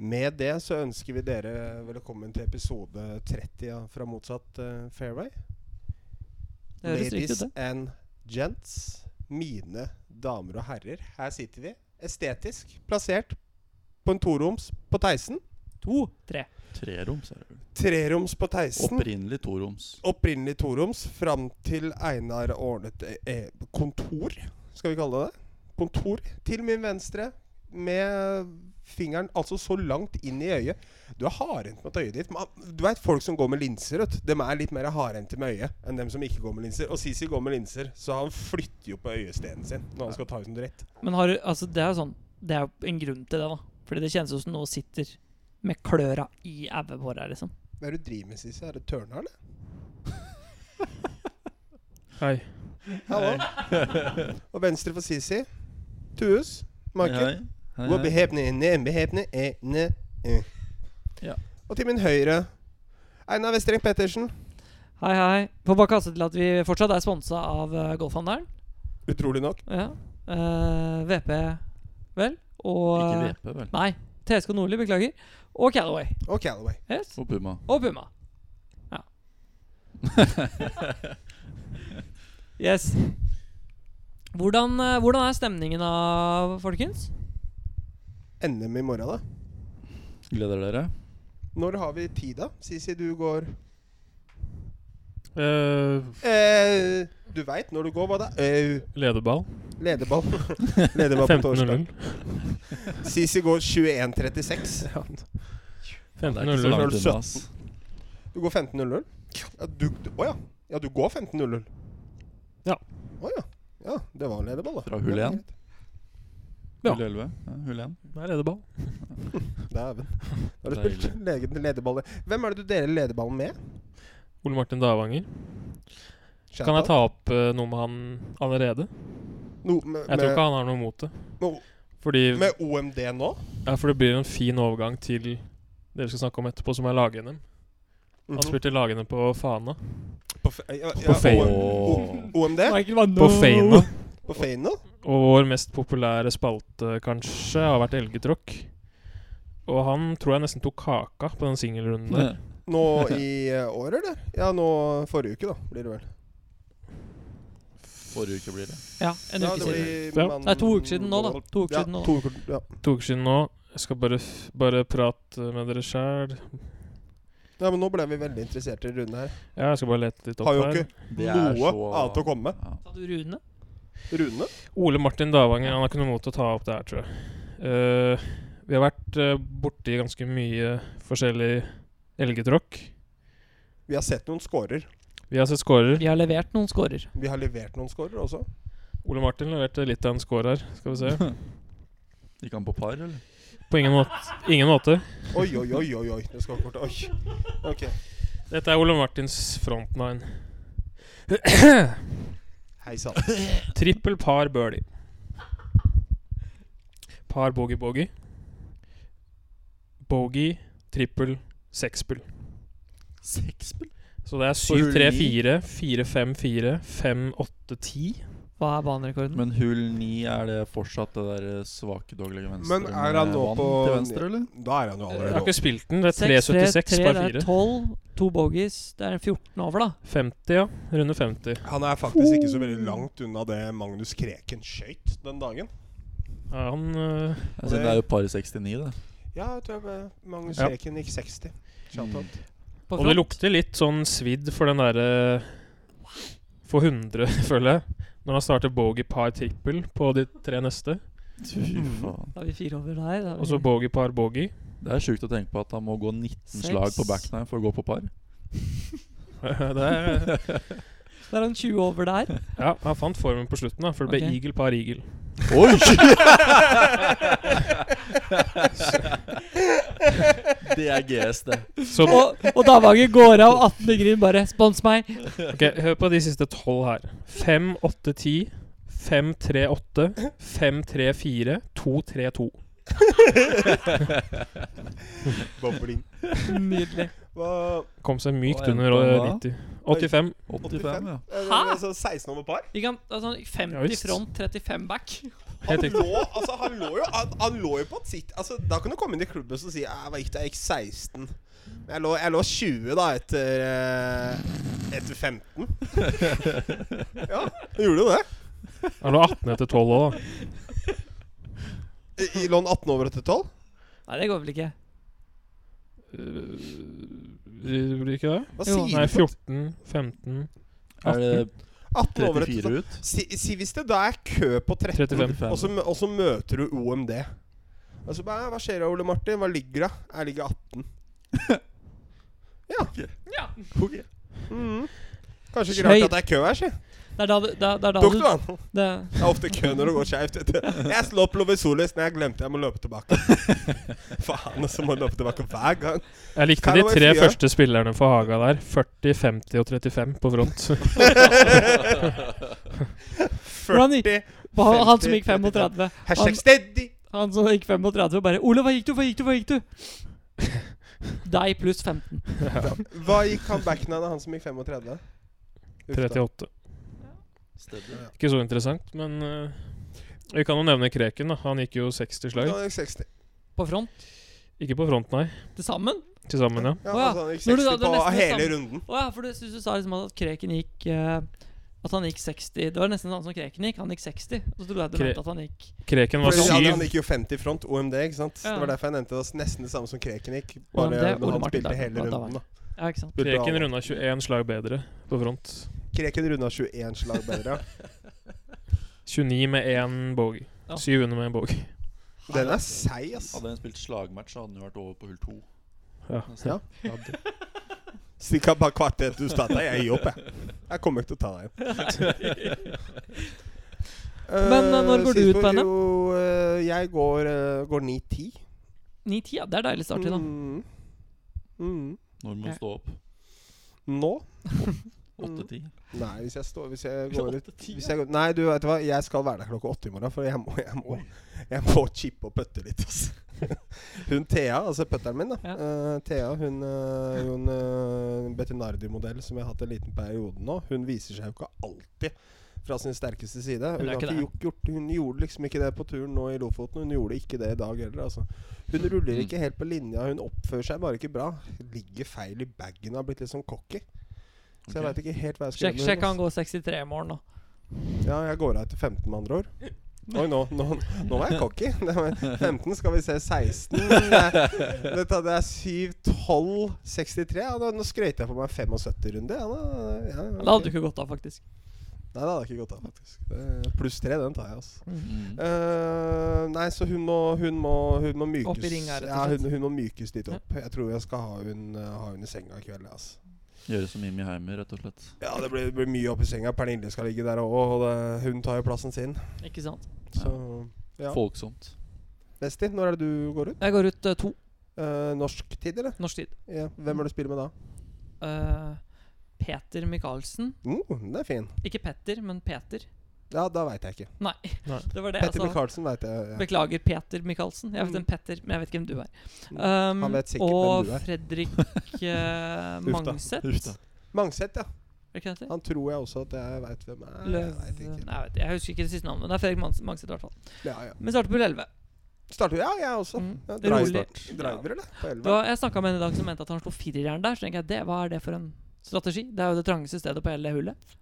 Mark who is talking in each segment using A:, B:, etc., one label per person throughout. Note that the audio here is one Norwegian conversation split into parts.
A: Med det så ønsker vi dere velkommen til episode 30 av fra motsatt eh, fairway.
B: Det høres riktig ut,
A: Ladies
B: det.
A: and gents, mine damer og herrer. Her sitter vi, estetisk plassert på en toroms på Theisen.
B: To, tre.
C: Treroms er det vel.
A: Treroms på Theisen.
C: Opprinnelig toroms.
A: Opprinnelig toroms fram til Einar ordnet eh, eh, kontor, skal vi kalle det. Kontor til min venstre med fingeren altså så langt inn i øyet. Du er hardhendt mot øyet ditt. Man- Du veit folk som går med linser, vet du. Dem er litt mer hardhendte med øyet enn dem som ikke går med linser. Og Sisi går med linser, så han flytter jo på øyestenen sin når han skal ta ut en dritt.
B: Men har du, altså det er jo sånn Det er jo en grunn til det, da. Fordi det kjennes ut som noe sitter med kløra i auet på deg, liksom.
A: Hva er det du driver med, Sisi? Er det tørna, eller?
D: Hei.
A: Hallo. Og venstre for Sisi, Tuus. Michael.
C: Hei, hei,
A: Hvor
C: hei.
A: behepne ne, behepne e, ne, e.
B: Ja.
A: Og til min høyre Einar Vestreng Pettersen.
B: Hei, hei. Får bare kaste til at vi fortsatt er sponsa av uh, Golfhandelen.
A: Utrolig nok.
B: Ja. Eh, VP, vel. Og eh,
C: Ikke VP, vel.
B: Nei. TSK Nordli, beklager. Og Calaway.
A: Og Calaway.
B: Yes.
C: Og Puma.
B: Og Puma. Ja. yes. Hvordan, eh, hvordan er stemningen da, folkens?
A: NM i morgen, da.
C: Gleder dere?
A: Når har vi tid, da? Sisi, du går
D: Eh,
A: eh, Du veit når du går, hva da? Eh,
D: ledeball.
A: lederball. lederball på torsdag.
D: 15-0.
A: Sisi går 21.36.
D: 15-0.
A: langt.
C: unna, ass.
A: Du går 15.00? Ja, du Å ja. Ja, du går 15.00?
D: Ja.
A: Å ja. Ja, det var lederball, da.
C: Fra hull
A: Ja,
C: én.
D: Ja.
C: Hull 11. Ja, hull 1.
D: Det er ledeball.
A: Dæven. Da har du spilt legen- lederball. Hvem er det du deler lederballen med?
D: Ole Martin Davanger. Kan jeg ta opp eh, noe med han allerede?
A: No, med,
D: Jeg tror ikke han har noe mot det.
A: med,
D: Fordi,
A: med OMD nå?
D: ja, for det blir en fin overgang til det vi skal snakke om etterpå, som er lag-NM.
A: Mhm.
D: Han spilte lag-NM på Fana.
A: På, fe- ja, ja,
D: På Feino.
A: O- O- OMD?
B: Michael Vanno.
D: På Feina.
A: På Feino?
D: Og vår mest populære spalte, kanskje, har vært Elgetråkk. Og han tror jeg nesten tok kaka på den singelrunden der.
A: Nå i eh, år, eller? Ja, nå forrige uke, da, blir det vel.
C: Forrige uke blir det.
B: Ja, en
A: Ja, det
B: uke siden.
A: blir
D: Ja.
A: mann-
B: Det er to uker siden nå, da. To uker
A: Ja,
B: siden nå.
A: to uker, ja.
D: To uker siden nå. Jeg skal bare, f bare prate med dere sjæl.
A: ja, men nå ble vi veldig interessert i runden her.
D: Ja, jeg skal bare lete litt opp
A: Har jo
D: her.
A: ikke noe annet å komme med.
C: Ja.
B: Sa du Rune?
A: Rune?
D: Ole Martin Davanger han har ikke noe mot å ta opp det her, tror jeg. Eh, vi har vært eh, borti ganske mye forskjellig elgetråkk.
A: Vi har sett noen scorer.
D: Vi har sett scorer.
B: Vi har levert noen scorer.
A: Vi har levert noen scorer også.
D: Ole Martin leverte litt av en score her. Skal vi se.
C: Gikk han på par, eller?
D: På ingen måte. Ingen måte.
A: Oi, oi, oi, oi. oi Det skal kort. Oi. Ok.
D: Dette er Ole Martins frontline.
A: Hei sann.
D: Trippel par birdie. Par boogie-boogie. Bogey, trippel, sekspull.
C: Seksspill?
D: Så det er
C: hull
D: 7, 3, 4, 4, 5, 4, 5, 8, 10.
B: Hva er banerekorden?
C: Men hull 9, er det fortsatt det der eh, svake doglegge venstre?
A: Men er han
C: med
A: nå
C: vann
A: på-
C: til venstre, eller?
A: Da er han jo
D: Jeg har
A: allerede
D: ikke spilt den. Det er
B: 6, 3,
D: 3,76
B: 3,
D: par
B: det er
D: 4.
B: 12, to bogies. Det er en 14 over, da.
D: 50, ja. Runde 50.
A: Han er faktisk ikke så veldig langt unna det Magnus Kreken skøyt den dagen.
D: Ja, han øh,
C: Jeg synes det er jo par 69, det.
A: Ja, jeg tror jeg Magnus
D: Ja.
A: Kreken gikk 60. Shout out.
B: På
D: Og det
B: front.
D: lukter litt sånn svidd for den derre For 100, føler jeg. Når han starter bogey par trippel på de tre neste.
C: Fy faen.
B: Da er vi fire over der. Da er vi-
D: Og så bogey par bogey.
C: Mm. Det er sjukt å tenke på at han må gå 19
B: Seks.
C: slag på backnine for å gå på par.
D: det er
B: Der er han 20 over der.
D: Ja, han fant formen på slutten, da, for det ble
B: Ok.
D: eagle par eagle.
C: Oi! det er GS, det.
D: Så
B: Og, og Davanger går av 18. gryn, bare spons meg.
D: ok, hør på de siste tolv her. 5, 8, 10, 5, 3, 8, 5, 3, 4, 2, 3, 2.
A: Bobling.
B: Nydelig.
A: Hva
D: Kom seg mykt
C: Og endte
D: under eh,
C: han
D: 90. 85.
C: 85, ja.
A: Eh,
B: Hæ?
A: Altså 16 over par?
B: Vi kan, altså, 50
D: Ja, visst.
B: front, 35 back.
A: Han
D: Helt riktig.
A: lå, altså, han lå jo han, han lå jo på et sitt altså, Da kan du komme inn i klubben og si «Ja, Hva gikk det? Jeg gikk 16. Men jeg lå, jeg lå 20 da etter eh, Etter 15. ja, jeg gjorde jo det.
D: Han lå 18 etter 12 òg, da.
A: I- i Lå han 18 over etter 12?
B: Nei, det går vel ikke.
D: Blir det ikke det?
A: Hva
B: Jo,
A: sier
D: Nei,
A: du? for-
D: 14, 15,
C: Er det
A: 18 over etter 12.
C: 34 ut?
A: Si, si hvis det da er kø på 13,
D: 35.
A: Og, så, mø- og så møter du OMD. Og så bare, Hva skjer da, Ole Martin? Hva ligger da? Jeg ligger 18. ja.
B: Ja.
C: Ok.
A: Mhm. Kanskje ikke rart
B: Skøyt.
A: at det er kø her, si.
B: Det er da du det, er- det er da
A: Tok
B: du
A: du den?
B: det,
A: Det er ofte kø når det går skeivt. vet du. Jeg slo opp Lovisolis, men jeg glemte jeg må løpe tilbake. Faen, og så må jeg løpe tilbake hver gang.
D: Jeg likte
A: Kan
D: de
A: det være
D: tre
A: fire?
D: første spillerne for Haga der. 40, 50 og 35 på front.
A: 40,
B: på han, han som gikk
A: 50,
B: 35.
A: hashtag steady.
B: Han som gikk 35 og bare 'Ole, hva gikk du? Hva gikk du? Hva gikk du?' Deg pluss 15.
A: Hva gikk han backen av, han som gikk 35? Uff da.
D: 38. Ikke så interessant, men eh, vi kan jo nevne Kreken. da Han gikk jo 60
A: Ja,
D: slag.
A: han gikk 60.
B: På front.
D: Ikke på front, nei.
B: Til sammen.
D: Til sammen, ja.
A: Ja,
B: Å ja.
A: altså, han gikk
B: Når du
A: 60
B: da- det er
A: på
B: nesten liksom- det
A: hele
B: samme.
A: runden.
B: Å ja, for du syns du sa liksom at Kreken gikk eh, At han gikk 60. Det var nesten sånn som Kreken gikk. Han gikk 60. Og så trodde jeg at du
D: Kre-
B: mente at han gikk
D: Kreken var
A: Fordi han, han
D: 7.
A: gikk jo 50 i front, OMD, ikke sant?
B: Ja.
A: Det var derfor jeg nevnte det var nesten det samme som Kreken gikk. Bare
B: OMD,
A: når
B: Ole
A: han
B: Martin,
A: spilte
B: da.
A: hele
B: Ja, da var
A: runden, da.
B: Ja, ikke sant.
A: Spilte
D: Kreken
A: han-
D: runda 21 slag bedre på front.
A: Kreken runda 21 slag bedre.
D: 29 med én bogey.
B: Ja.
D: 700 med en bogey.
A: Den er seig, ass.
C: Hadde hun spilt slagmatch, så hadde hun vært over på hull 2.
D: Ja.
A: Ja. Stikk av bare kvarter etter du starta. Jeg gir opp, jeg. Jeg kommer ikke til å ta deg igjen.
B: Men, eh, når går du ut på henne?
A: Jo, eh, jeg går, eh, går 9-10.
B: 9-10, ja. Det er deilig start i da.
A: Mm. Mm.
C: Når må
B: Ja.
C: hun stå opp?
A: Nå?
C: 8-10?
A: Nei, hvis jeg står Hvis jeg går ut hvis jeg, går- Nei, du vet hva, jeg skal være der klokka åtte i morgen, for jeg må, jeg må, jeg må chippe og putte litt. ass. Hun Thea, altså putteren min, da.
B: Ja.
A: eh, Thea, hun eh, jo en eh, Bettinardi-modell som jeg har hatt en liten periode nå. Hun viser seg jo ikke alltid fra sin sterkeste side.
B: Hun
A: Hun,
B: er
A: har
B: ikke
A: ikke gjort, gjort, hun gjorde liksom ikke det på turen nå i Lofoten. Hun gjorde ikke det i dag heller. Altså. Hun ruller ikke helt på linja. Hun oppfører seg bare ikke bra. Ligger feil i bagen og har blitt litt sånn cocky. Så jeg
C: Ok.
A: veit ikke helt hva jeg skal gjøre.
B: Sjekk,
A: med
B: sjekk
A: henne,
B: han går 63 i morgen, da.
A: ja, jeg går av etter 15 med andre ord. Oi, nå, nå, nå var jeg cocky. Det var 15, skal vi se 16 Det, det er 7, 12, 63. Ja, da, nå skrøt jeg på meg 75-runde. Ja, da, ja,
B: Men Det hadde du ikke godt av, faktisk.
A: Nei, det hadde jeg ikke gått av, faktisk. Det- Pluss 3, den tar jeg, altså.
C: Mm.
A: Eh, nei, så hun må, hun må, hun må mykes
B: Opp i ringa, rett og
A: ja,
B: slett.
A: hun, hun må mykes litt opp. Jeg tror jeg skal ha hun, eh, ha hun i senga i kveld. Altså.
C: Gjøre som Mimmi Heimer, rett og slett.
A: Ja, det blir, det blir mye opp i senga. Pernille skal ligge der òg, og det, hun tar jo plassen sin.
B: Ikke sant.
A: Så ja.
C: Folksomt.
A: Vesti, når er det du går ut?
B: Jeg går ut eh, to
A: Eh, norsk tid, eller?
B: norsk tid.
A: Ja. Hvem er det du spiller med da?
B: Eh, Peter Michaelsen.
A: Mm, den er fin.
B: Ikke Petter, men Peter.
A: Ja, da veit jeg ikke.
B: Nei,
D: Nei.
B: det altså var det jeg
A: Petter
B: sa.
A: Michaelsen veit jeg. Ja.
B: Beklager, Peter Michaelsen. Jeg vet
A: Mm.
B: en Petter, men jeg vet ikke hvem du er. Um,
A: Han vet sikkert
B: og
A: hvem du er.
B: Fredrik eh,
A: Uff da.
B: Mangset.
C: Uff da.
A: Mangseth, ja.
B: Er det ikke det han heter?
A: Han tror jeg også at jeg veit hvem er. Jeg
B: Løv...
A: vet ikke.
B: Nei, jeg, vet, ikke. jeg husker ikke det siste navnet. men Det er Fredrik Mans- Mangset, i hvert fall.
A: Ja, ja.
B: Men starter på 11.
A: Starter Ja, jeg også.
B: Mm.
A: Ja,
B: Det er
A: driver,
B: rolig.
A: driver, eller? På
B: Da,
A: 11.
B: jeg snakka med en i dag som mente at han slo fireren der. Så tenker jeg, det, hva er det for en strategi? Det er jo det trangeste stedet på hele det hullet.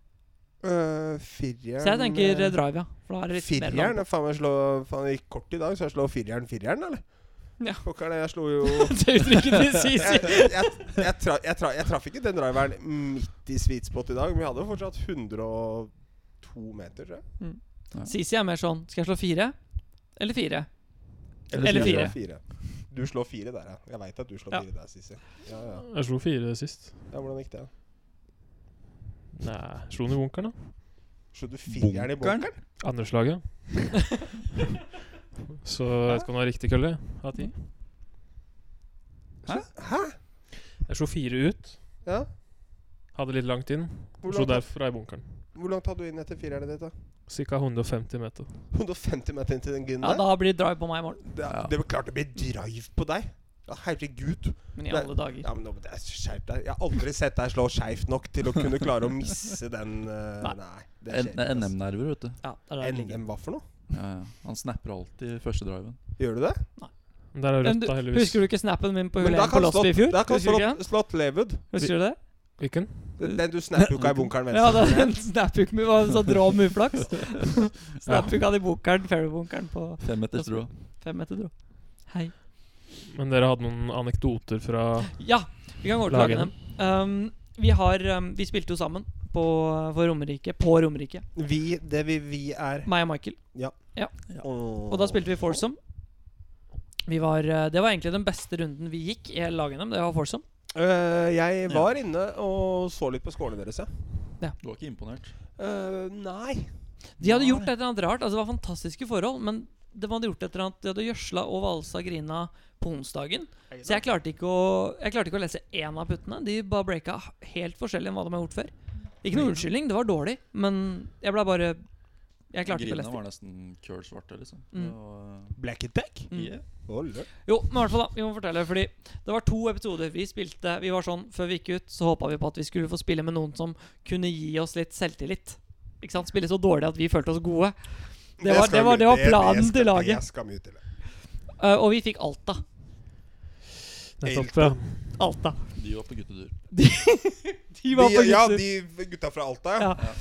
A: Uh, firjern
B: Så jeg tenker eh,
A: eh,
B: drive, ja. For da er det litt mer
A: Firjern?
B: land.
A: Faen, jeg slå, faen, det gikk kort i dag, så jeg slår firjern firjern, eller?
B: Ja.
A: Pokker det, jeg slo jo
B: Det uttrykket de
A: jeg,
B: sier, sier.
A: jeg, jeg, tra, jeg, tra, jeg traff ikke den driveren midt i sweet spot i dag, men vi hadde fortsatt 102 meter, tror jeg.
B: Sisi er mer sånn Skal jeg slå fire? Eller fire?
A: Eller,
B: Eller
A: fire.
B: fire.
A: Du slår fire der, ja. Jeg veit at du slår
B: Ja.
A: fire der, Sissy. Ja, ja.
D: Jeg slo fire sist.
A: ja, hvordan gikk det?
D: Nei, slo den i bunkeren, da.
A: Slo du fireren i
C: Bunkeren?
A: bunkeren?
D: Andre slaget. Så jeg vet ikke om det var riktig kølle. Av ti.
C: Hæ?
A: Hæ?
D: Jeg slo fire ut.
A: Ja.
D: Hadde litt langt inn.
A: Hvor
D: Slo
A: langt,
D: derfra i bunkeren.
A: hvor langt hadde du inn etter fireren ditt, da?
D: Ca. 150 meter.
A: 150 meter inn til den
B: Ja,
A: grinden der?
B: da blir det drive på meg i morgen.
A: Det, er- det var klart det blir drive på deg. Ja, herregud.
B: Men i
A: Nei.
B: alle dager.
A: Ja, men nå må jeg skjerpe deg. Jeg har aldri sett deg slå skeivt nok til å kunne klare å misse den eh,
B: Nei.
A: Nei.
C: N-
A: skjer ikke, ass.
C: NM-nerver, vet du.
B: Ja, det er det jeg liker.
A: NM hva for noe?
C: Ja, ja. Han snapper alltid i første driven.
A: Gjør du det?
D: Men Der er
B: Men
D: rødt,
B: du,
D: da, heldigvis.
B: husker du ikke snappen min på
A: Men
B: hull
A: da
B: 1 på
A: kan
B: Losby i
A: slått,
B: fjor?
A: da kan
B: Husker du ikke
A: slått, slått Lewood.
B: det? Husker du det?
D: Hvilken?
A: Den du snapper jo ikke av i bunkeren
B: Ja,
A: venstre.
B: det er en snaphook med var en sånn rå med uflaks. Snaphook av de bunkeren, fairway-bunkeren på
C: Fem meter strå.
B: fem meter dro. Hei.
D: Men dere hadde noen anekdoter fra
B: Ja, vi kan gå til
D: Lagene.
B: lagene. Um, vi har um, Vi spilte jo sammen på, for Romerike. På Romerike.
A: Vi, det vi, vi er
B: Meg og Michael. Og
A: Og
B: da spilte vi Foursome. Vi var, uh, det var egentlig den beste runden vi gikk i hele lag-NM. Det var Foursome.
A: Eh, Jeg var inne og så litt på skålene deres, ja.
C: Du var ikke imponert.
A: Eh, nei.
B: De hadde gjort et eller annet rart. Altså, det var fantastiske forhold, men de hadde gjort et eller annet De hadde gjødsla og valsa grina på onsdagen. Så jeg klarte ikke å, jeg klarte ikke å lese én av puttene. De bare breaka helt forskjellig enn hva de har gjort før. Ikke noe unnskyldning, det var dårlig, men jeg ble bare Jeg klarte ikke å
C: Grina
B: lese det.
C: var nesten køl svarte, liksom.
B: Mm.
C: Det var-
A: Black Attack?
B: Mm.
C: Yeah.
B: Jo, men i hvert fall da, vi må fortelle Fordi det var to episoder vi spilte Vi var sånn, før vi gikk ut så håpet vi på at vi skulle få spille med noen som Kunne gi oss litt selvtillit Ikke sant, spille så dårlig at vi følte oss gode Det var, det var, det var planen til laget
A: skal mye til.
B: Eh, Og vi fikk Alta
D: nettopp ja.
B: Alta
C: De var på guttetur.
B: De var på
A: ja,
B: gutter
A: de gutta fra Alta, ja.
B: Ja.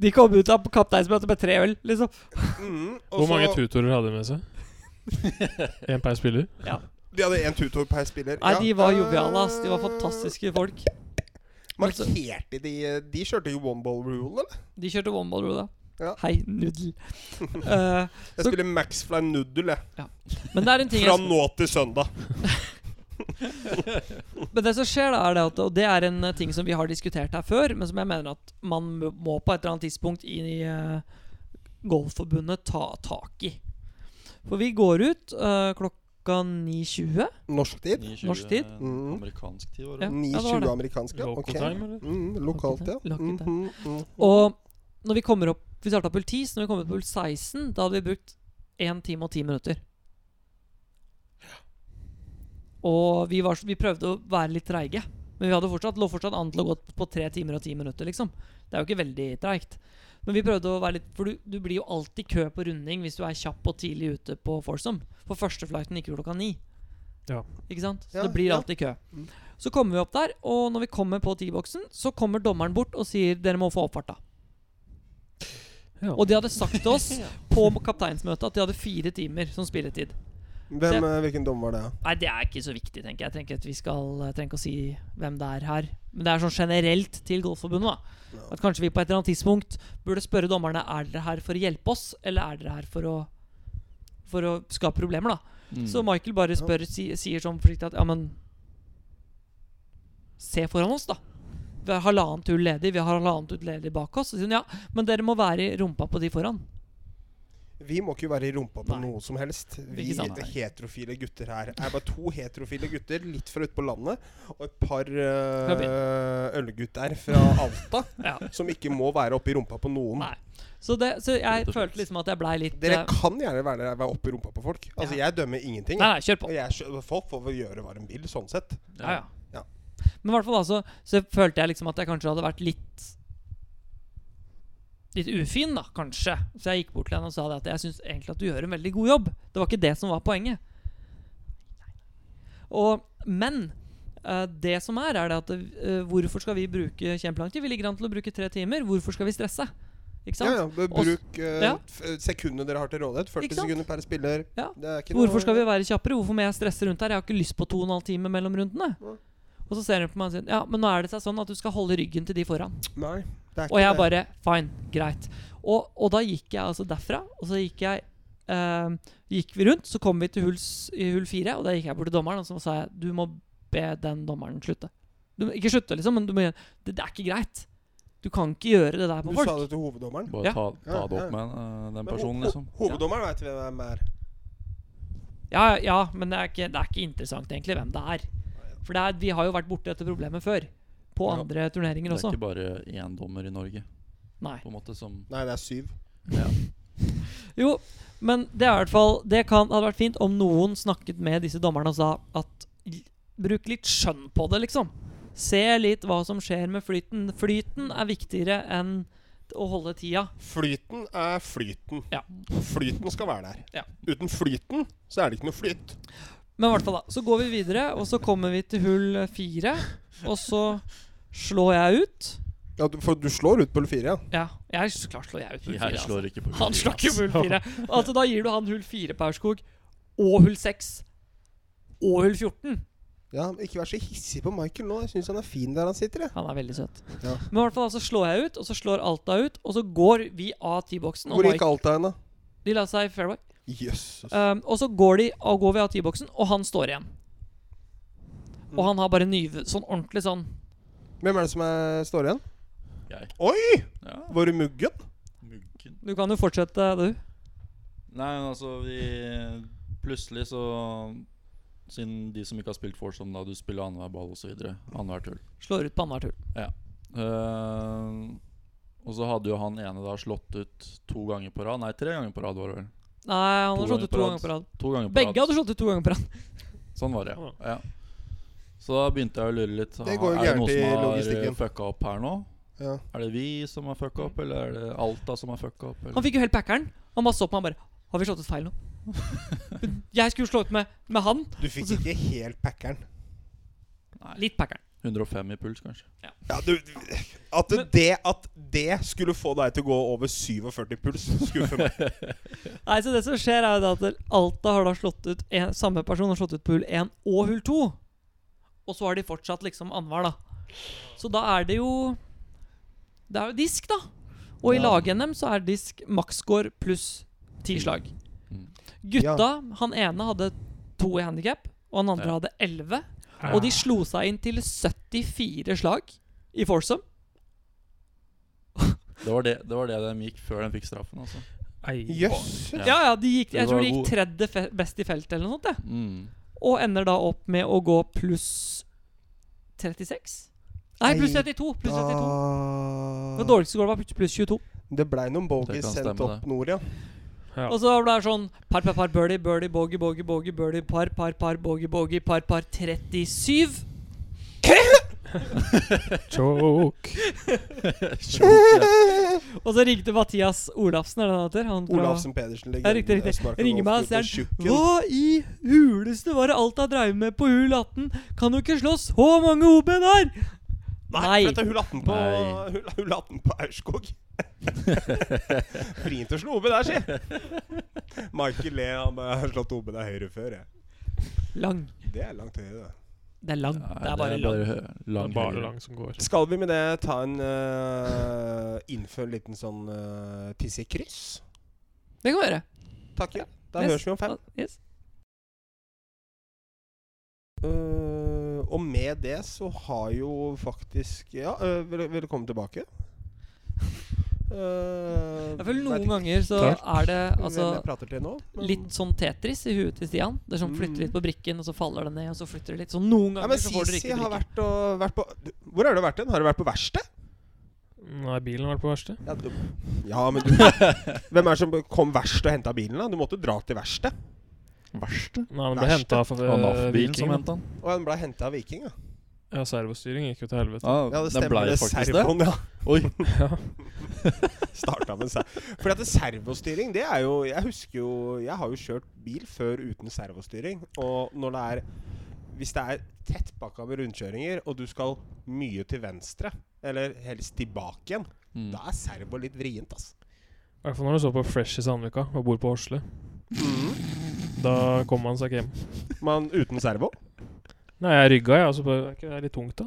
B: De kom ut av kapteinsmøtet med tre øl liksom
A: Mm, og
D: Hvor mange
A: så-
D: tutorer hadde de med seg? Én per spiller?
A: De hadde én tutor per spiller.
B: Nei,
A: ja.
B: de var joviale ass De var
A: Eh,
B: fantastiske folk
A: Markerte de eh, De kjørte jo one ball rule, eller?
B: De kjørte one-ball, da
A: Ja.
B: Hei, nudel Eh,
A: Jeg
B: Så-
A: skulle Maxfly Noodle, jeg.
B: Men det er en ting jeg
A: Fra nå til søndag.
B: Men det som skjer da er det at Og det er en eh, ting som vi har diskutert her før Men som jeg mener at man m- må på et eller annet tidspunkt Inn i eh, golfforbundet ta tak i For vi går ut eh, klokka 9.20
A: Norsk tid.
C: 29,
B: Norsk tid?
A: Mm.
C: eh, Amerikansk tid, var det.
B: Ja.
A: 9.20
B: det var det.
A: amerikansk, ja.
D: Local
A: ok.
D: time, eller?
A: Mm, lokalt, ja.
B: Local time.
A: Mhm, mhm.
B: Og når vi kommer opp Vi startet på 10 Så når vi kommer opp på 16 Da hadde vi brukt 1 time og 10 minutter Og vi, var, s- vi prøvde å være litt treige Men vi hadde fortsatt, lå fortsatt an til å gå på 3 timer og 10 minutter liksom Det er jo ikke veldig treigt. Men vi prøvde å være litt For du, du blir jo alltid kø på runding hvis du er kjapp og tidlig ute på Forsum. For første flighten gikk jo klokka ni.
D: Ja.
B: Ikke sant? Så
A: Ja,
B: det blir
A: ja.
B: alltid kø.
A: Mm.
B: Så kommer vi opp der, og når vi kommer på T-boksen, så kommer dommeren bort og sier 'Dere må få oppfarta'.
D: Ja.
B: Og de hadde sagt til oss på kapteinsmøtet at de hadde fire timer som spilletid.
A: Hvem, eh, hvilken dom var det? ja?
B: Nei, det er ikke så viktig, tenker jeg. Jeg trenger ikke, at vi skal, jeg trenger ikke å si hvem det er her. Men det er sånn generelt til Golfforbundet. da
A: Ja.
B: At kanskje vi på et eller annet tidspunkt burde spørre dommerne Er dere her for å hjelpe oss, eller er dere her for å For å skape problemer. da
C: Mm.
B: Så Michael bare spør, si, sier sånn forsiktig at Ja, men Se foran oss, da. Vi har halvannet hull ledig, vi har halvannet hull ledig bak oss. Så sier hun ja, men dere må være i rumpa på de foran.
A: Vi må ikke være i rumpa på
B: Nei.
A: noe som helst. Vi
B: Ikke sant?
A: heterofile gutter her er bare to heterofile gutter, litt fra ute på landet, og et par eh, ølgutter fra Alta
B: Ja.
A: som ikke må være oppi rumpa på noen.
B: Nei. Så, det, så
C: Rett
B: jeg
C: og slett.
B: følte liksom at jeg blei litt
A: Dere
B: eh,
A: kan gjerne være, være oppi rumpa på folk. Altså, jeg dømmer ingenting.
B: Nei, nei, kjør på.
A: Og jeg, skjø- folk får vel gjøre hva de vil, sånn sett.
B: Ja, ja.
A: Ja.
B: Men i hvert fall da så, så følte jeg liksom at jeg kanskje hadde vært litt Litt ufin, da, kanskje. Så jeg gikk bort til henne og sa det at jeg syns egentlig at du gjør en veldig god jobb. Det var ikke det som var poenget. Og, men eh, det som er, er det at eh, hvorfor skal vi bruke kjempelang tid? Vi ligger an til å bruke tre timer. Hvorfor skal vi stresse? Ikke sant?
A: Ja, ja, b-
B: Og s-
A: bruk eh,
B: ja.
A: f- sekundene dere har til rådighet. 40
B: Ikke sant?
A: sekunder per spiller.
B: Ja.
A: Det er ikke
B: Hvorfor
A: noe-
B: skal vi være kjappere? Hvorfor må jeg stresse rundt her? Jeg har ikke lyst på to og en halv time mellom rundene.
A: Mm.
B: Og så ser hun på meg og sier Ja, men nå er det seg sånn at du skal holde ryggen til de foran.
A: Nei, det er ikke
B: Og jeg
A: det.
B: bare Fine, greit. Og, og da gikk jeg altså derfra, og så gikk jeg eh, Gikk vi rundt, så kom vi til hull, s- i hull fire, og da gikk jeg bort til dommeren og så sa jeg, Du må be den dommeren slutte. Du, må- ikke slutte, liksom, men du må gjøre det, det er ikke greit. Du kan ikke gjøre det der på
A: Du sa
B: folk.
A: det til hoveddommeren.
C: Bare
B: Ja.
C: ta, ta
A: Ja,
C: det
A: ja.
C: opp med eh, den
A: Men ho-
C: personen,
A: ho-
C: liksom.
A: Hoveddommeren vet veit hvem er.
B: Ja, ja, men det er, ikke, det er ikke interessant egentlig hvem det er. For det er, vi har jo vært borti dette problemet før. På
C: Ja.
B: andre
C: Det
B: turneringer
C: er
B: også.
C: ikke bare én dommer i Norge,
B: Nei.
C: på en måte, som
A: Nei, det er syv.
C: ja.
B: Jo, men det er i hvert fall Det kan, hadde vært fint om noen snakket med disse dommerne og sa at l- Bruk litt skjønn på det, liksom. Se litt hva som skjer med flyten. Flyten er viktigere enn å holde tida.
A: Flyten er flyten.
B: Ja.
A: Flyten skal være der.
B: Ja.
A: Uten flyten så er det ikke noe flyt.
B: Men i hvert fall, da. Så går vi videre, og så kommer vi til hull fire. Og så slår jeg ut.
A: Ja, du, for du slår ut på hull fire, ja.
B: Ja, jeg så klart slår jeg ut hull
C: Jeg
B: fire. Altså.
C: slår ikke på
B: Han slår ikke på hull fire. Altså, da gir du han hull fire på Aurskog. Og hull seks. Og hull 14.
A: ja. men Ikke vær så hissig på Michael nå. Jeg syns han er fin der han sitter, jeg.
B: Han er veldig søt.
A: Ja.
B: Men i hvert fall, altså, slår jeg ut, og så slår Alta ut, og så går vi av T-boksen. og
A: Hvor gikk
B: Mike-
A: Alta hen, da?
B: De la seg i fairway.
A: Jøsses.
B: Um, og så går, de, og går vi av T-boksen, og han står igjen. Og han har bare nyve... Sånn ordentlig sånn
A: Hvem er det som er, står igjen?
C: Jeg.
A: Oi!
C: Ja,
A: Var det Muggen?
C: muggen.
B: Du kan jo fortsette, du.
C: Nei, men altså, vi Plutselig så Siden de som ikke har spilt Forsom, da du spiller annenhver ball osv. Annethvert hull.
B: Slår ut på annethvert hull.
C: Eh, og så hadde jo han ene da slått ut to ganger på rad. Nei, tre ganger på rad, var det vel.
B: Nei, han
C: To
B: har slått ut to
C: ganger
B: ganger på rad.
C: To ganger på
B: Begge
C: rad.
B: hadde slått ut to ganger på rad.
C: Sånn var det, ja. ja. Så da begynte jeg å lure litt.
A: Det går jo
C: er det
A: gærent i
C: noen som har
A: logistikken.
C: eh, fucka opp her nå?
A: Ja.
C: Er det vi som har fucka
D: Mm.
C: opp, eller er det Alta som har fucka opp?
B: Han
C: Eller?
B: fikk jo helt packeren. Han bare så på meg bare Har vi slått ut feil nå? Jeg skulle slå ut med, med han.
A: Du fikk ikke helt packeren.
C: Nei,
B: Litt packeren.
C: 105 i puls, kanskje.
A: Ja, du, at,
B: Men-
A: det, at det skulle få deg til å gå over 47 puls, skuffer meg.
B: Nei, så det som skjer, er jo da at Alta har da slått ut en, Samme person har slått ut på hull 1 og hull 2. Og så har de fortsatt liksom annenhver, da. Så da er det jo Det er jo disk, da. Og i
C: Ja.
B: lag-NM så er disk maksscore pluss ti slag.
C: Mm.
B: Gutta, han ene hadde to i handikap, og han andre
C: Ja.
B: hadde elleve. Og de slo seg inn til 74 slag i foursome.
C: Det var det, det var det de gikk før de fikk straffen, altså.
D: Ei.
A: Jøss.
C: Ja.
B: Ja, ja, de gikk,
C: Det
B: jeg tror
C: var
B: de gikk
C: god-
B: tredje fe best i feltet eller noe sånt. Ja.
C: Mm.
B: Og ender da opp med å gå pluss 36? Nei, pluss
A: Nei,
B: 32. Pluss 32.
A: Ah.
B: Det dårligste skåret var pluss- pluss 22.
A: Det blei noen
C: Det
A: bogies
C: kan
A: sendt
C: stemme,
A: opp nord, ja.
D: Ja.
B: Og så ble det sånn par, par, par, birdie, birdie, bogey, bogey, bogey, birdie, par, par, par, bogey, bogey, par, par, 37.
D: Choke.
B: Og så ringte Mathias Olafsen, er det han heter? Han fra-
A: Olafsen Pedersen, eh,
B: Ja, riktig, riktig. Ringer meg og sier Hva i huleste var det Alta dreiv med på hull 18? Kan jo ikke slå så mange OB-en her!
A: Nei!
B: Nei.
A: For dette er hull 18 på,
C: Nei.
A: hull, hull 18 på Aurskog. Vrient å slå OB der, si. Michael Le han bare, jeg har slått OB der høyre før, jeg.
B: Lang.
A: Det er langt høyere, det.
B: Det er lang. det er bare lang.
C: hø-
D: Det
C: lang.
D: er bare
C: høyre.
D: lang som går.
A: Skal vi med det ta en uh, Innføre en liten sånn uh, tissekryss?
B: Det kan være.
A: Takk. Ja. Da
B: Yes.
A: høres vi om fem.
B: Yes.
A: Eh, og med det så har jo faktisk Ja, eh, vel, velkommen tilbake. Eh,
B: Jeg føler
A: vet
B: noen
A: ikke
B: ganger så
D: Takk.
B: er det
A: hvem
B: altså
A: jeg prater til nå, men-
B: litt sånn Tetris i huet til Stian. Det er sånn
A: Mm.
B: flytter litt på brikken, og så faller det ned, og så flytter det litt. Så noen
A: ja,
B: ganger
A: men
B: så får dere
A: Sisi
B: ikke
A: har
B: brikken.
A: vært, og, vært på du, Hvor har du vært hen? Har du vært på verksted?
D: Nei, bilen har vært på verste.
A: Ja, du, ja, men du Hvem er det som kom verst og henta bilen? da? Du måtte dra til verksted.
C: Verste.
D: Nei, den ble
A: Verste.
D: henta av
C: Det var
D: eh,
C: NAF-bilen som
D: Viking.
C: hentet han.
A: Og den ble henta av Viking, ja.
D: Ja, servostyring gikk jo til helvete.
A: ja det
C: Ah, den ble
A: stemmer.
C: jo
A: Det
C: faktisk
A: servoen, ja.
C: det. Oi.
A: Starta med serv. Fordi at det servostyring, det er jo Jeg husker jo Jeg har jo kjørt bil før uten servostyring. Og når det er Hvis det er tettpakka med rundkjøringer, og du skal mye til venstre, eller helst tilbake igjen,
C: Mm.
A: da er servo litt vrient, ass.
D: I hvert fall når du så på Fresh i Sandvika og bor på Hosle. Da kom han seg ikke hjem.
A: Men Mm. uten servo?
D: Nei, jeg rygga, jeg. Altså, bare, er ikke det litt tungt, da?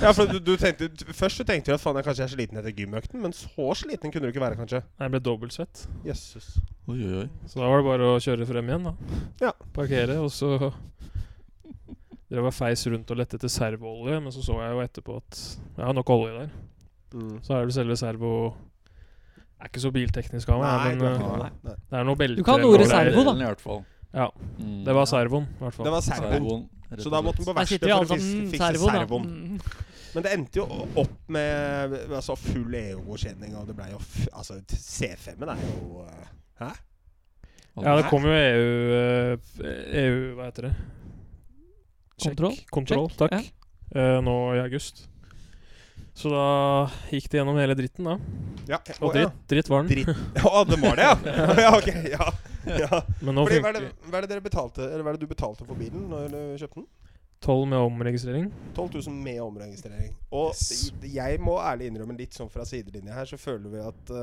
A: Ja, for du, du tenkte Først så tenkte du at faen, jeg kanskje er sliten etter gymøkten, men så sliten kunne du ikke være, kanskje.
D: Nei, Jeg ble dobbeltsvett.
A: Jøsses.
C: Oi, oi, oi.
D: Så da var det bare å kjøre frem igjen, da.
A: Ja.
D: Parkere, og så Drev og feis rundt og lette etter servoolje, men så så jeg jo etterpå at jeg har nok olje der.
A: Mm.
D: Så er det selve servo Jeg er ikke så bilteknisk av meg,
A: Nei,
D: men
A: det var
D: eh,
A: ikke
C: nei.
A: det. Nei.
D: det er noe belte
B: kan
D: eller
B: ordet
D: noe greier.
B: servo, da.
C: Delen I hvert fall.
D: Ja,
C: Mm.
D: det var servoen, i hvert fall.
A: Det var servoen.
C: rett
A: Så
C: og
A: da
C: slett.
A: måtte den på
B: Der
A: verksted
B: sitter vi
A: for
B: alle
A: å fikse,
B: sammen
A: fikse
B: servo, da.
A: servoen.
B: Mm.
A: Men det endte jo opp med altså, full EU-godkjenning, og det ble jo f Altså, C5-en er jo eh, Hæ?
D: Ja, det kom jo EU eh, EU, hva heter det?
B: Kontroll?
D: Kontroll,
B: Check,
D: takk. Eh, nå i august. Så da gikk det gjennom hele dritten, da.
A: Ja. å,
D: Og
A: ja.
D: dritt, dritt var den.
A: Dritt. Å, det var det, ja? ja ok, ja. ja.
D: Men nå
A: Fordi, hva, er det,
D: funker
A: hva er det dere betalte Eller hva er det du betalte for bilen når du kjøpte den?
D: 12 med omregistrering.
A: 12 000 med omregistrering. Og
D: Yes.
A: i- jeg må ærlig innrømme litt sånn fra sidelinja her, så føler vi at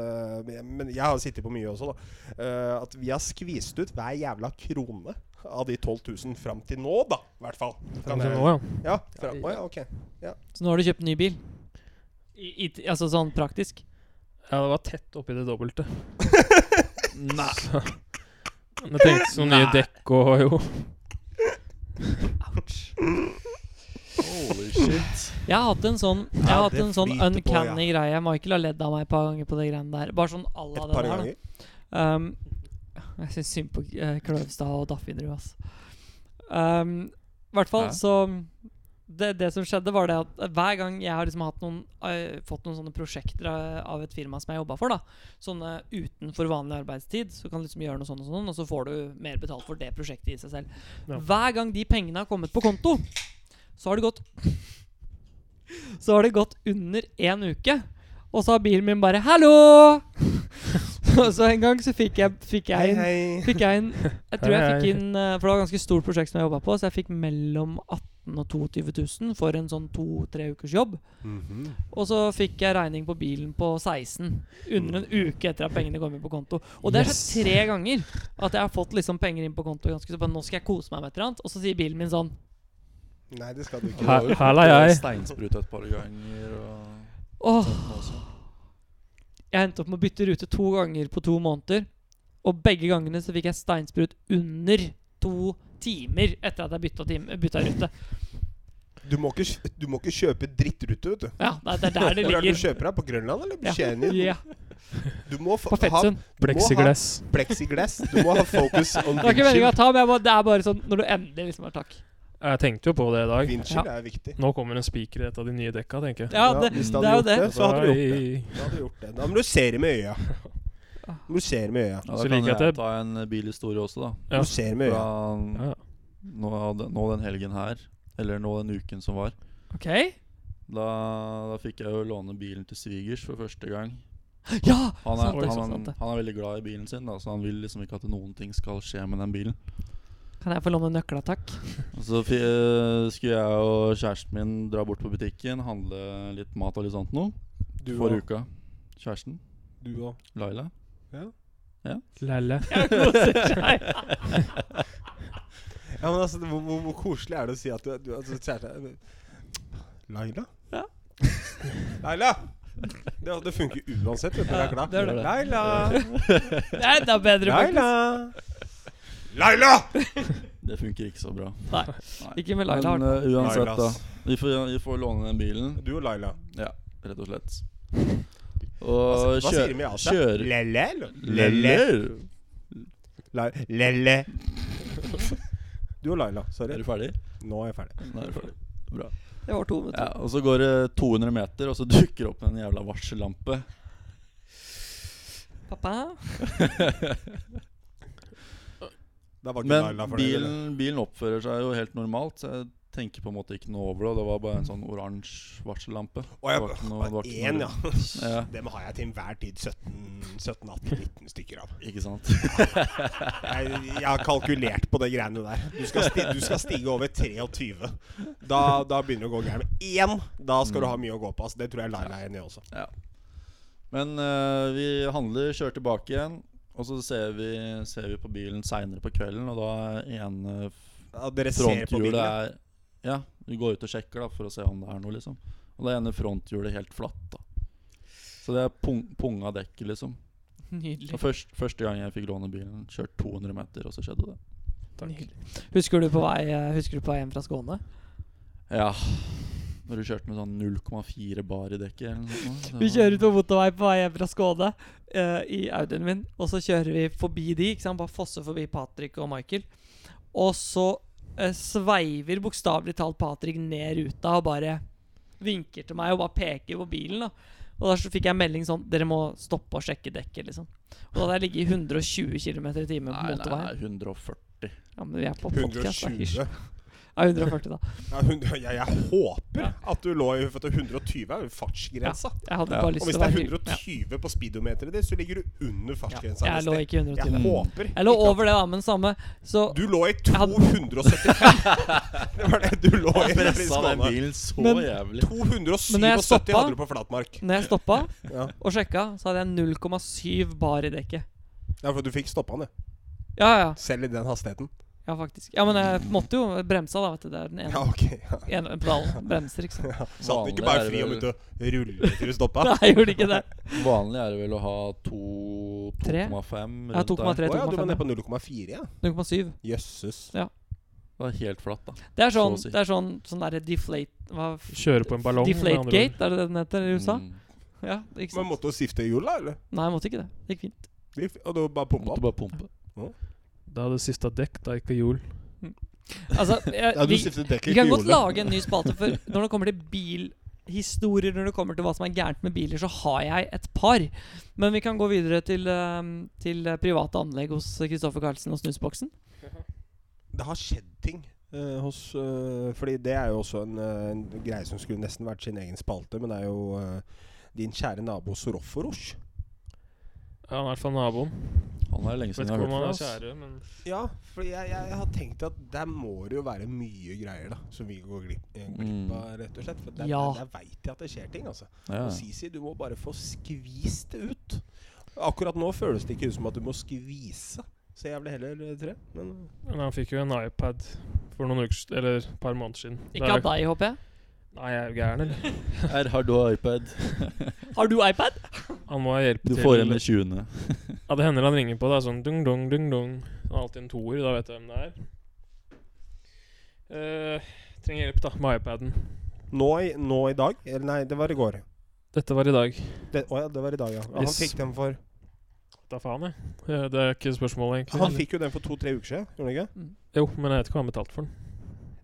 A: eh, Men jeg har sittet på mye også, da. eh, at vi har skvist ut hver jævla krone av de 12 000 fram til nå, da. I hvert fall. Kan
D: Kanskje
A: jeg-
D: nå, ja.
A: Ja, fra, å, ja, ok.
B: Så nå har du kjøpt ny bil? I, i, altså sånn praktisk?
D: Ja, det var tett oppi det dobbelte.
C: Nei.
D: Men jeg tenkte sånn nye dekk og jo.
B: Ouch.
C: Holy shit.
B: Jeg har hatt en sånn Jeg har
A: Ja,
B: hatt
A: det
B: en sånn
A: flyter på,
B: uncanny greie. Michael har ledd av meg et par ganger på de greiene der. Bare sånn à la
A: Et
B: det
A: par
B: der. da.
A: ganger.
B: Um, jeg syns synd på eh, Kløvstad og Daffinrud, ass. Um, I hvert fall
C: Hæ?
B: så det, det som skjedde, var det at hver gang jeg har liksom hatt noen, eh, fått noen sånne prosjekter av, av et firma som jeg jobba for, da sånne utenfor vanlig arbeidstid, så kan du liksom gjøre noe sånn og sånn, og så får du mer betalt for det prosjektet i seg selv.
D: Ja.
B: Hver gang de pengene har kommet på konto, så har det gått Så har det gått under én uke, og så har bilen min bare 'hallo'! så en gang så fikk jeg, fikk jeg
A: Hei,
B: en
A: hei.
B: fikk jeg inn Jeg tror jeg
D: Hei,
B: fikk
D: hei.
B: inn eh, For det var et ganske stort prosjekt som jeg jobba på, så jeg fikk mellom 18 og 22 000 for en sånn to-tre ukers jobb. Og så fikk jeg regning på bilen på 16 under en uke etter at pengene kom inn på konto. Og det har skjedd
D: Yes.
B: tre ganger at jeg har fått liksom penger inn på konto. Ganske, så bare, nå skal jeg kose meg med et eller annet Og så sier bilen min sånn
A: Nei, det skal du ikke.
D: Hæ? Her- her la jeg.
C: Steinsprut et par ganger og
B: Åh,
C: også.
B: jeg endte opp med å bytte rute to ganger på to måneder. Og begge gangene så fikk jeg steinsprut under to timer etter at jeg bytta, time, bytta rute.
A: Du må ikke, kj- du må ikke kjøpe drittrute, vet du.
B: Ja, det er- det er der det
A: Hvor er det du
B: ligger.
A: kjøper deg? På Grønland eller
B: Ja.
A: Buchanan?
B: Ja,
A: Du må få-
B: på
A: ha
B: Fettsund.
D: Pleksiglass.
A: plexiglass. Du må ha focus on
B: Det var ikke meningen å
A: windshield.
B: ta, men jeg må, det er bare sånn når du endelig liksom har takk.
D: Jeg tenkte jo på det i dag.
A: Windshield er viktig.
D: Nå kommer en spiker i et av de nye dekka, tenker jeg.
B: Ja, det,
A: hvis
B: det
A: du hadde
B: er jo
A: gjort
B: det.
A: Så hadde du gjort det.
D: Oi.
A: Da hadde du gjort det. Da må du se det med øya.
B: Ah.
A: Du må se det med øya.
C: Ja,
D: Så
C: da
D: liker
C: kan
D: jeg at
C: jeg
D: det-
C: ta en bilhistorie også, da.
A: Du
D: Ja.
A: må se det med øya.
C: Fra
D: Ja, ja.
C: nå, den- nå den helgen her, eller nå den uken som var.
B: Ok.
C: Da, da fikk jeg jo låne bilen til svigers for første gang.
B: Ja!
C: Han er,
B: sant det,
C: han,
B: sant det.
C: han er veldig glad i bilen sin, da, så han vil liksom ikke at noen ting skal skje med den bilen.
B: Kan jeg få låne nøkla, takk?
C: Og Så fi- eh, skulle jeg og kjæresten min dra bort på butikken, handle litt mat og litt sånt noe.
A: Du
C: For
A: og-
C: uka. Kjæresten.
A: Du og
C: Laila.
D: Lelle.
A: Ja, men altså, hvor, hvor, hvor koselig er det å si at du, du altså, kjæreste Laila?
B: Ja.
A: Laila! Det, det funker uansett. Vet du, jeg er glad.
B: det er det.
A: Laila!
B: Det er enda bedre.
A: Laila!
B: faktisk.
A: Laila!
C: Det funker ikke så bra.
B: Nei. Ikke med Laila.
C: Men
B: Harden.
C: eh, uansett, da.
A: Lailas.
C: Vi får, vi får låne den bilen.
A: altså. Du og Laila.
C: Ja, rett og slett.
A: Altså, Hva,
C: Og
A: hva sier de med Asia?
C: kjør
A: Lelle? eller?
C: Leller.
A: La- Lelle. Du og Laila.
C: Er
A: Sorry.
C: du ferdig?
A: Nå er jeg ferdig.
C: Nå er du ferdig. Bra.
B: Det var to
C: Ja,
B: minutter.
C: og så går det 200 meter, og så dukker opp en jævla varsellampe.
B: Pappa?
A: Da var ikke
C: Men
A: Laila fornøyd, eller?
C: bilen, bilen oppfører seg jo helt normalt, så jeg tenker på en måte ikke noe over det. og Det var bare en sånn oransje varsellampe.
A: Å, ja,
C: Det var ikke noe- det var ikke
A: Én,
C: noe-
A: ja.
C: Ja.
A: Dem har jeg til enhver tid 17-18-19 stykker av.
C: Ikke sant?
A: Jeg, jeg har kalkulert på det greiene der. Du skal, sti, du skal stige over 23. Da, da begynner det å gå gærent. Men én, da skal du ha mye å gå på. Altså. Det tror jeg Laila er enig i også.
C: Men eh, vi handler, kjører tilbake igjen, og så ser vi, ser vi på bilen seinere på kvelden, og da er ene
A: Ja, dere ser på
C: fronthjulet
A: bilen.
C: er Ja, vi går ut og sjekker da for å se om det er noe, liksom. Og da er ene fronthjulet helt flatt, da. Så det er pung, punga dekket, liksom.
B: Nydelig.
C: Og først, første gang jeg fikk låne bilen, kjørt 200 meter, og så skjedde det.
D: Takk.
B: Husker du på vei eh, Husker du på vei hjem fra Skåne?
C: Ja. Når du kjørte med sånn 0,4 bar i dekket eller noe sånt. det
B: Vi
C: var-
B: kjører ut på motorvei på vei hjem fra Skåne eh, i Audien min. Og så kjører vi forbi de, ikke sant? bare fosser forbi Patrick og Michael. Og så eh, sveiver bokstavelig talt Patrick ned ruta og bare vinker til meg og bare peker på bilen. da Og da så fikk jeg melding sånn Dere må stoppe og sjekke dekket. liksom Og da hadde jeg ligget i 120 km i timen på
C: Nei, nei, nei,
B: motorveien.
C: 140.
B: Ja, men vi er på podcast, da.
A: 120.
B: Ja, 140, da.
A: Ja, hun, jeg, jeg håper at du lå i for at 120 er jo fartsgrensa.
B: Jeg hadde
C: Ja.
B: bare
A: Og
B: lyst
A: hvis
B: til å
A: det er
B: være
A: 120 på speedometeret ditt, så ligger du under fartsgrensa.
B: Jeg
A: hvis
B: lå
A: det-
B: ikke i 120.
A: Jeg håper
B: Jeg lå
A: ikke at-
B: over det, da, men samme. Så
A: Du lå i
B: hadde-
A: 275. det var det du lå i. i
C: Pressa den
A: Skåne.
C: bilen så
B: Men-
C: jævlig.
A: 277
B: stoppa-
A: hadde du på flatmark.
B: når jeg stoppa
A: Ja,
B: og sjekka, så hadde jeg 0,7 bar i dekket.
A: ja for du fikk stoppa den, ja.
B: Ja, ja.
A: selv i den hastigheten.
B: Ja, faktisk. Ja, men jeg måtte jo bremsa, da, vet du. Det er den ene,
A: Ja, ok. Ja.
B: ene pedalen. Bremser, ikke sant.
A: Så hadde du ikke
C: Vanlig
A: bare
C: er
A: fri
C: det
A: om
C: vel-
A: ut og rulle til du stoppa?
B: Nei, jeg gjorde ikke det.
C: Vanlig er det vel å ha to-
B: Tre?
C: 2,5
B: Ja,
C: rundt der.
B: 2,3.
A: Å ja, du var
B: 3,5,
A: nede på 0,4, ja.
B: 0,7.
A: Jøsses.
C: Det var helt flatt, da.
B: Det er sånn,
C: Så å si.
B: det er sånn, sånn derre deflate Hva f-
D: Kjøre på en ballong. med andre ord.
B: Deflate gate, er det det den heter i USA?
C: Mm.
B: Ja, ikke
A: Men
B: sant?
A: måtte du skifte hjul, da? eller?
B: Nei, jeg måtte ikke det. Det gikk fint.
A: De f- Og du bare pumpa
C: Måtte
A: opp?
C: bare pumpe.
D: Da hadde siste dekk, da ikke hjul.
B: Altså, jeg, vi, vi kan godt lage en ny spalte, for når det kommer til bilhistorier, når det kommer til hva som er gærent med biler, så har jeg et par. Men vi kan gå videre til, eh, til eh, private anlegg hos Kristoffer Carlsen og Snusboksen.
A: Det har skjedd ting. eh, hos, eh, fordi det er jo også en, eh, en greie som skulle nesten vært sin egen spalte, men det er jo eh, din kjære nabo Soroforos.
D: Ja, han er i hvert fall naboen.
C: Han er det lenge siden
D: Vet
C: jeg
D: ikke
C: har
D: om han
C: hørt
D: er
C: fra. ass.
D: kjære, men
A: Ja, for jeg, jeg, jeg har tenkt at der må det jo være mye greier da som vi går glipp eh, glipp av, rett og slett. For der,
B: Ja.
A: der, der veit jeg at det skjer ting, altså.
C: Ja.
A: Og Sisi, du må bare få skvist det ut. Akkurat nå føles det ikke ut som at du må skvise så jævlig heller, eh, tror jeg. Men
D: men han fikk jo en iPad for noen uker s- Eller et par måneder siden. Det
B: Ikke
D: er-
B: av deg, håper jeg.
D: Nei, jeg er jo gæren, eller?
C: Her har du iPad.
B: Har du iPad?
D: Han må ha hjelp
C: Du
D: til.
C: får en med 20.
D: Ja, det hender han ringer på. Det er sånn dung, dung, dung, dung. Han har alltid en toer, da vet jeg hvem det er. Eh, trenger hjelp, da, med iPaden.
A: nå i, nå i dag Eller nei, det var i går.
D: Dette var i dag.
A: Det, å ja, det var i dag, ja. ja han
D: Yes.
A: fikk den for
D: Da faen, jeg. Eh, Det er ikke spørsmålet, egentlig.
A: Han fikk jo den for to-tre uker siden, gjorde han ikke?
D: Jo, men jeg vet ikke hva han betalte for den.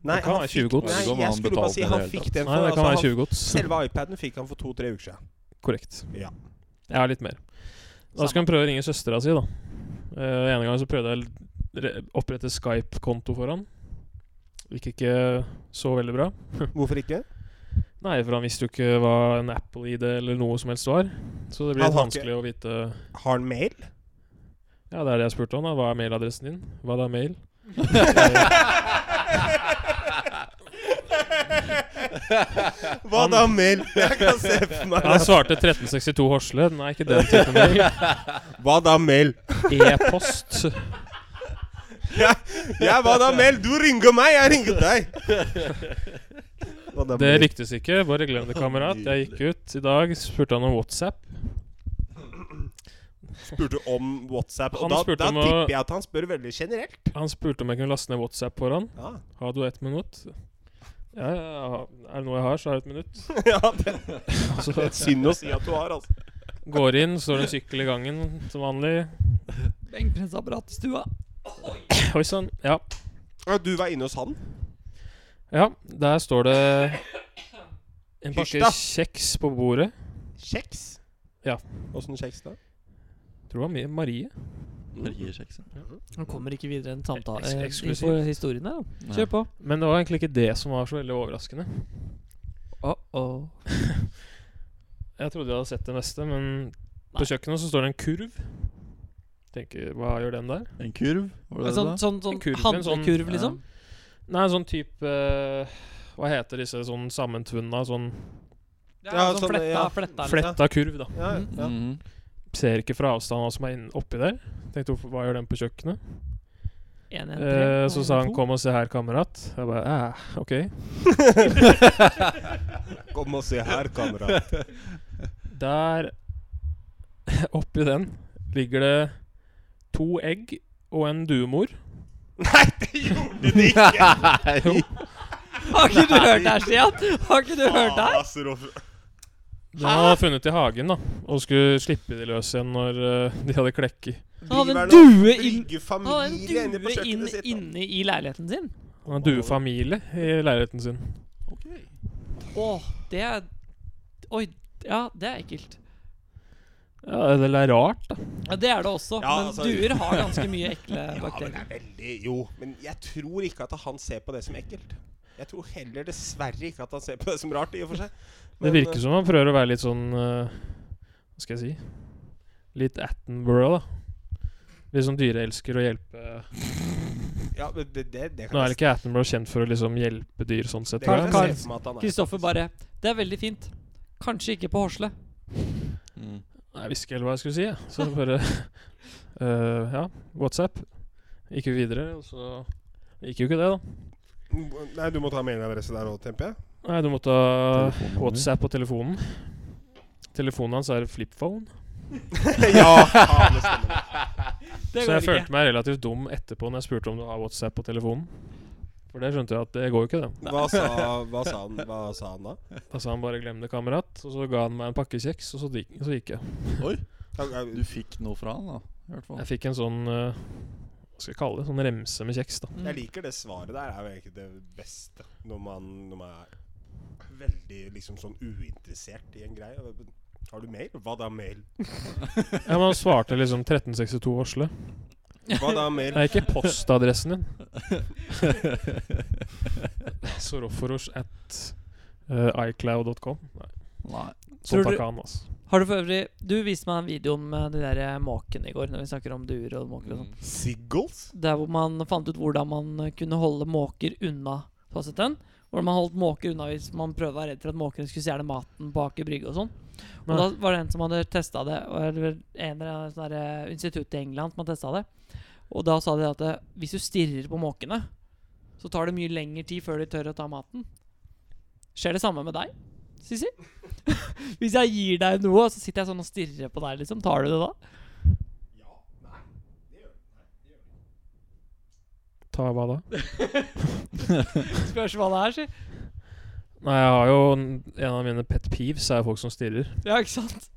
A: Nei,
D: Det kan være 20 godt.
A: Nei,
C: Det går med
A: jeg
C: han
A: skulle bare
C: betalte
A: si
C: i det
A: han
C: hele
A: fikk
C: tatt.
A: den
D: Nei,
A: for altså,
D: det kan være
A: han,
D: 20 gods.
A: Selve iPaden fikk han for to-tre uker siden.
D: Korrekt.
A: Ja.
D: Jeg har litt mer. Da skal han prøve å ringe søstera si, da. Uh, en gang så prøvde jeg å re- opprette Skype-konto for han. Gikk ikke så veldig bra.
A: Hvorfor ikke?
D: Nei, for han visste jo ikke hva en Apple-ID eller noe som helst var. Så det
A: Han
D: blir litt
A: har ikke-
D: vanskelig å vite
A: Har han mail?
D: Ja, det er det jeg spurte om. da. Hva er mailadressen din? Hva da er mail?
A: Hva da, mail? Jeg kan se for meg
D: Han svarte 1362 Horsle. Nei, ikke den typen mail.
A: Hva da, mail?
D: E-post.
A: Ja, hva da, mail? Du ringer meg, jeg ringer deg. Hva da,
D: Det ryktes ikke. Bare glem det, kamerat. Jeg gikk ut i dag, spurte han om WhatsApp.
A: Spurte om WhatsApp.
D: Han
A: Og da,
D: spurte
A: da
D: om å-
A: tipper jeg at han spør veldig generelt.
D: Han spurte om jeg kunne laste ned WhatsApp for han.
A: Ja,
D: Har du ett minutt? Ja, ja, ja, er det noe jeg har, så har jeg et minutt.
A: ja det,
D: Så
A: det er synd å si at du har, altså.
D: går inn, står det en sykkel i gangen som vanlig.
B: Benkpressapparat i stua.
D: Oi sann. Ja.
A: Ja, Du var inne hos han?
D: ja, der står det en pakke
A: Hysj, da.
D: kjeks på bordet.
A: Kjeks?
D: Ja.
A: Åssen kjeks, da?
D: Tror det var Mi- Marie.
C: Mariekjeksen.
B: Han kommer ikke videre enn samtale
D: Eks-
B: eh,
D: eksklusivt.
B: innenfor historien her. da.
C: Nei.
B: Kjør på.
D: Men det var egentlig ikke det som var så veldig overraskende. Jeg trodde jeg hadde sett det meste, men
B: Nei.
D: på kjøkkenet så står det en kurv. Tenker, hva gjør den der?
C: En kurv? Var det
B: En
C: det
B: sånn,
C: da?
B: sånn, sånn
D: En kurv, en sånn-
B: handlekurv, liksom?
D: Nei, sånn type eh, Hva heter disse sånn sammentvinna sånn
A: Ja, Ja, sånn sånn, fletta- ja.
B: fletta.
A: Flett-
D: fletta kurv, da.
A: Ja,
B: Mm.
A: ja.
C: Mhm.
D: Ser ikke fra avstand hva som er inn- oppi der. Tenkte hvorfor- hva gjør den på kjøkkenet?
B: En, en, tre,
D: Eh, så
B: og
D: sa
B: to.
D: han 'kom og se her, kamerat'. Jeg bare eh, ok.
A: Kom og se her, kamerat.
D: Der oppi den ligger det to egg og en duemor.
A: Nei, det gjorde de ikke!
C: Nei!
B: Har ikke du hørt det her, Stian? Har ikke du hørt det her?
A: altså,
D: Den hadde jeg funnet i hagen da og skulle slippe de løs igjen når eh, de hadde klekk i.
B: Han hadde
A: Driverne
B: en due inn
A: Brygge
B: Han hadde en
A: familie inne på
B: due inn,
A: kjøkkenet sitt. da.
B: inne i leiligheten sin.
D: Han har duefamilie i leiligheten sin.
B: Åh, det er Oi, ja, det er ekkelt.
D: Ja, eller det er rart, da.
B: Ja, det er det også,
A: Ja,
B: men
A: altså-
B: duer har ganske mye ekle
A: Ja, men det
B: bakterier.
A: er veldig Jo, men jeg tror ikke at han ser på det som ekkelt. Jeg tror heller dessverre ikke at han ser på det som rart, i og for seg.
D: Det
A: eh,
D: virker som han prøver å være litt sånn eh, Hva skal jeg si Litt Attenborough, da. Litt sånn dyreelsker og hjelpe
A: Ja, men det, det, det
D: Nå
A: kan
D: er
A: jeg
D: det ikke Attenborough kjent for å liksom hjelpe dyr, sånn sett.
A: det kan
D: tror jeg,
A: jeg
B: Karl-
A: se for meg at han er.
B: Kristoffer bare Det er veldig fint. Kanskje ikke på Horsle.
C: Mm.
D: Nei, Jeg visste ikke helt hva jeg skulle si, jeg. så jeg bare eh, Ja, WhatsApp. Gikk jo videre, og så gikk jo ikke det, da.
A: Nei, du må ta mailadresse der òg, temper jeg.
D: Nei, du måtte ha
C: Telefonnummer.
D: WhatsApp på telefonen. Telefonen hans er flipphone.
A: ja, faen, det stemmer.
B: Det
D: Så jeg følte meg relativt dum etterpå når jeg spurte om du har WhatsApp på telefonen. For det skjønte jeg at det går jo ikke, det.
A: Hva sa, hva, sa han, hva sa han da?
D: Da sa han bare 'glem det, kamerat', og så ga han meg en pakke kjeks, og så gikk, så gikk jeg.
A: Han-
C: Du fikk noe fra han, da? I hvert fall.
D: Jeg fikk en sånn eh, Hva skal jeg kalle det? Sånn remse med kjeks, da.
A: Jeg liker det svaret der. er jo egentlig det beste når man, når man er veldig liksom sånn uinteressert i en greie. Har du mail? Hva da mail?
D: Ja, Men han svarte liksom 1362 Osle.
A: Hva da mail?
D: Nei, ikke postadressen din. Soroforos at eh, icloud.com. Nei,
C: Nei.
B: Tror
D: sånn
B: du-
D: takk han, altså.
B: Har du for øvrig Du viste meg en video om eh, de der eh, måkene i går, når vi snakker om duer og måker og sånn.
C: Mm.
A: Siggles?
B: Der hvor man fant ut hvordan man eh, kunne holde måker unna fasiten. Hvordan man holdt måker unna hvis man prøvde å være redd for at måkene skulle stjele maten på Aker Brygge og sånn. Og
D: Nei.
B: da var det en som hadde testa det, og eller en eller annen sånn der, eh, institutt i England som hadde testa det. Og da sa de at eh, hvis du stirrer på måkene, så tar det mye lengre tid før de tør å ta maten. Skjer det samme med deg, Sissy? hvis jeg gir deg noe, og så sitter jeg sånn og stirrer på deg, liksom, tar du det da?
D: Ta hva da?
B: Spørs hva det er, si.
D: Nei, jeg har jo en en av mine pet peeves er jo folk som stirrer.
B: Ja, ikke sant?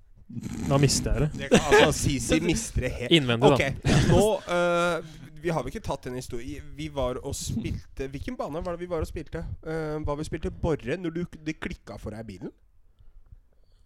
D: Da mister jeg det.
A: Det kan altså Sisi mister det helt.
D: Innvendig,
A: Ok, nå øh, Vi har vel ikke tatt en historie. Vi var og spilte Hvilken bane var det vi var og spilte? Uh, var vi spilte Borre når du, det klikka for deg i bilen?
D: da. Ja,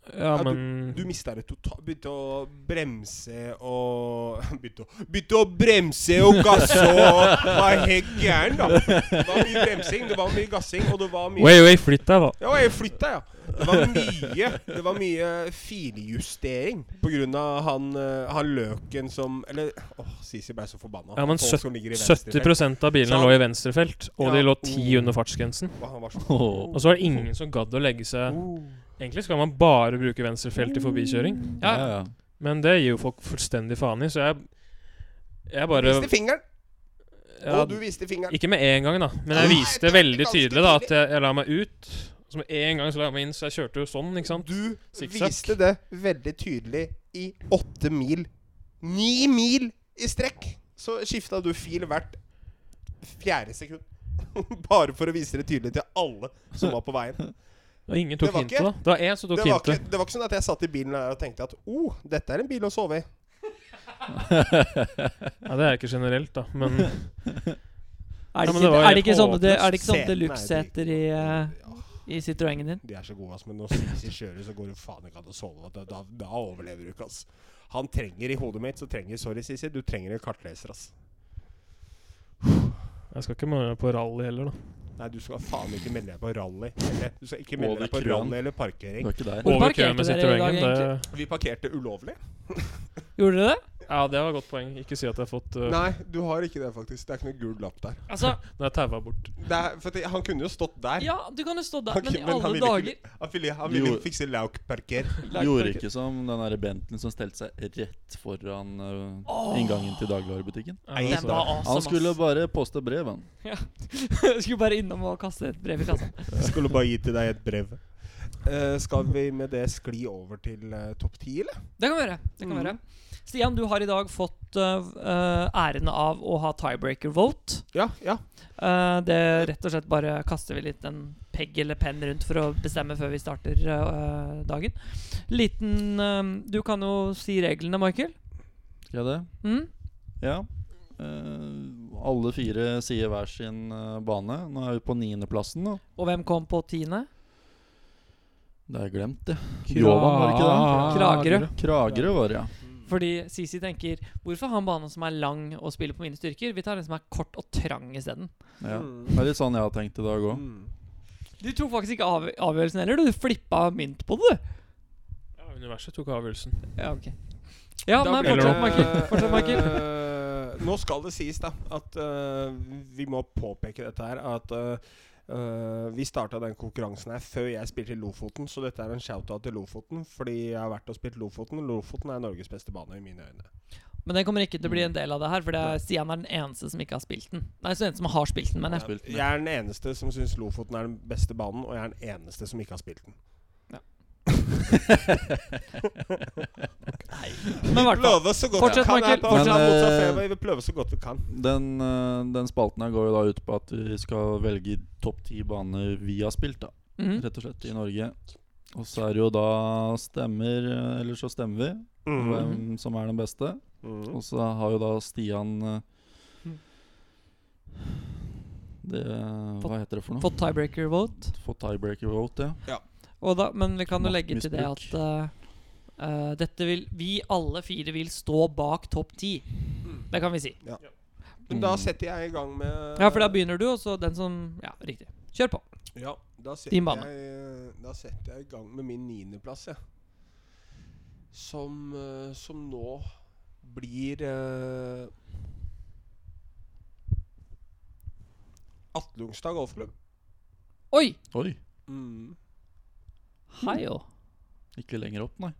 A: Ja,
D: men
A: Du mista det totalt. Begynte å bremse og Begynte å, begynte å bremse og gasse og var helt gæren, da. Det var mye bremsing, det var mye gassing, og det var mye
D: Way, way, flytt deg, da.
A: Ja, jeg flytta, ja. Det var mye Det var mye filjustering på grunn av han, eh, han løken som Eller åh, Sisi ble så forbanna.
D: Ja, men
A: Folk som ligger i venstrefelt.
D: 70 av bilene
A: Så-
D: lå i venstrefelt,
A: Sånn.
D: og
A: Ja. Mm.
D: de lå 10
A: Oh.
D: under fartsgrensen.
A: Og han var så Oh.
D: Og så var det ingen som gadd å legge seg Egentlig skal man bare bruke venstrefelt i forbikjøring,
B: Ja,
C: Ja, ja.
D: men det gir jo folk fullstendig faen i, så jeg Jeg bare
A: Viste fingeren,
D: ja,
A: og du viste fingeren.
D: Ikke med en gang, da, men
A: Nei,
D: jeg
A: det
D: viste
A: er
D: veldig
A: ganske
D: tydelig da at jeg, jeg la meg ut. Så med en gang så la jeg meg inn, så jeg kjørte jo sånn, ikke sant.
A: Du
D: Sikksakk.
A: viste det veldig tydelig i åtte mil. Ni mil i strekk! Så skifta du fil hvert fjerde sekund. Bare for å vise det tydelig til alle som var på veien.
D: Og ingen
A: Det
D: tok
A: var
D: hintet,
A: ikke-
D: da. Det var én som tok
A: det, var ikke,
D: hintet.
A: det var ikke sånn at jeg satt i bilen der og tenkte at oh, dette er en bil å sove i.
D: Ja, det er ikke generelt, da, men
B: Er
D: Ja,
B: det
D: men
B: ikke,
D: det var
B: er det
D: helt
B: ikke sånne, det, er det
A: håpløst.
B: ikke sånne
A: Seten er
B: deluxe-seter i, eh, i Citroën-en din?
A: De er så gode, ass, men når Sisi kjører, så går det faen ikke an å sove. Da, da, da overlever du ikke, ass. Han trenger i hodet mitt, så trenger Sorry, Sisi, du trenger en kartleser, ass.
D: jeg skal ikke melde meg på rally heller, da.
A: Nei, du skal faen ikke melde deg på rally. Eller, du skal ikke melde
C: Over
A: deg på
C: krøen.
A: rally eller
C: Du
A: parkering.
C: er ikke der.
B: Hvor
D: Over
B: parkerte
D: køen med
B: dere i dag,
D: Citroën-en, det
A: Vi parkerte ulovlig.
B: Gjorde dere det?
D: Ja, det var et godt poeng. Ikke si at jeg har fått uh,
A: Nei, du har ikke det, faktisk. Det er ikke noe gul lapp der.
B: Altså,
D: Når jeg taua bort.
A: Det er, for at han kunne jo stått der.
B: ja, du kan jo stå der,
A: Ok,
B: men i
A: men han
B: alle
A: ville ikke-
B: dager
A: Han ville, han ville
C: Jo.
A: fikse laukparker.
C: Gjorde ikke som den der Bentleyen som stelte seg rett foran øh, inngangen til dagligvarebutikken.
D: Ja,
A: Nei,
D: det
B: Den
D: så-
B: var
C: Han
B: awesome,
C: skulle
B: ass.
C: bare poste brev, han.
B: Skulle bare innom og kaste et brev i kassa.
A: Skulle bare gi til deg et brev. Eh, skal vi med det skli over til eh, topp ti, eller?
B: Det kan vi gjøre. Det kan vi gjøre. Stian, du har i dag fått eh, eh, æren av å ha tiebreaker vote.
A: Ja, ja.
B: Eh, det rett og slett bare kaster vi litt en pegg eller penn rundt for å bestemme før vi starter eh, dagen. Liten eh, Du kan jo si reglene, Michael.
C: Skal jeg det?
B: Mm?
C: Ja. Eh, alle fire sier hver sin eh, bane. Nå er vi på niendeplassen, da.
B: Og hvem kom på tiende?
C: Det har jeg glemt, det.
D: Kra-
C: Jova, var det
A: Ah,
C: ikke
B: Kragerø.
C: det? Kragerø var det, ja.
A: Mm.
B: Fordi Sisi tenker Hvorfor ha en bane som er lang og spiller på mine styrker? Vi tar en som er kort og trang isteden.
C: ja.
A: Mm.
C: Det er litt sånn jeg har tenkt i dag òg.
A: Mm.
B: Du tok faktisk ikke av avgjørelsen heller. Du Du flippa mynt på det, du.
D: Ja, universet tok avgjørelsen.
B: Ja, ok. Ja,
A: Da
B: men
A: blir det-
B: fortsett, Michael. Fortsett, Michael.
A: Eh, nå skal det sies, da, at eh, vi må påpeke dette her. At eh, eh, vi starta den konkurransen her før jeg spilte i Lofoten, så dette er en shout-out til Lofoten. Fordi jeg har vært og spilt Lofoten. Lofoten er Norges beste bane, i mine øyne.
B: Men den kommer ikke til å bli en del av det her, for det er, Stian er den eneste som ikke har spilt den. Nei, så den som har spilt den, mener jeg.
C: spilt den,
A: Jeg er den eneste som syns Lofoten er den beste banen, og jeg er den eneste som ikke har spilt den.
B: Men i
A: Vi
B: hvert fall.
A: prøver så godt vi
B: Fortsett,
A: kan. her
B: Michael.
A: på
C: Men,
A: Aksel Amundsen
C: eh,
A: Feber. Vi prøver så godt vi kan.
C: Den, eh, den spalten her går jo da ut på at vi skal velge topp ti baner vi har spilt, da.
B: Mhm.
C: Rett og slett i Norge. Og så er det jo da stemmer eh, Eller så stemmer vi
A: Mhm.
C: hvem som er den beste.
A: Mhm.
C: Og så har jo da Stian eh,
B: Mm.
C: Det Hva heter det for noe?
B: Fått tiebreaker vote.
C: Fått tiebreaker vote, ja.
B: Og da, men vi kan jo legge til det at
C: Maktmisbruk.
B: eh, eh, dette vil Vi alle fire vil stå bak topp ti.
A: Mm.
B: Det kan vi si.
A: Men da setter jeg i gang med
B: Ja, for da begynner du, og så den som Ja, riktig. Kjør på.
A: Ja, da setter,
B: Din bane.
A: Jeg, da setter jeg i gang med min niendeplass, jeg. Som, eh, som nå blir eh, Atlungstad golfklubb.
B: Oi!
C: Oi.
A: Mm.
B: Hei jo.
C: Ikke lenger opp, nei.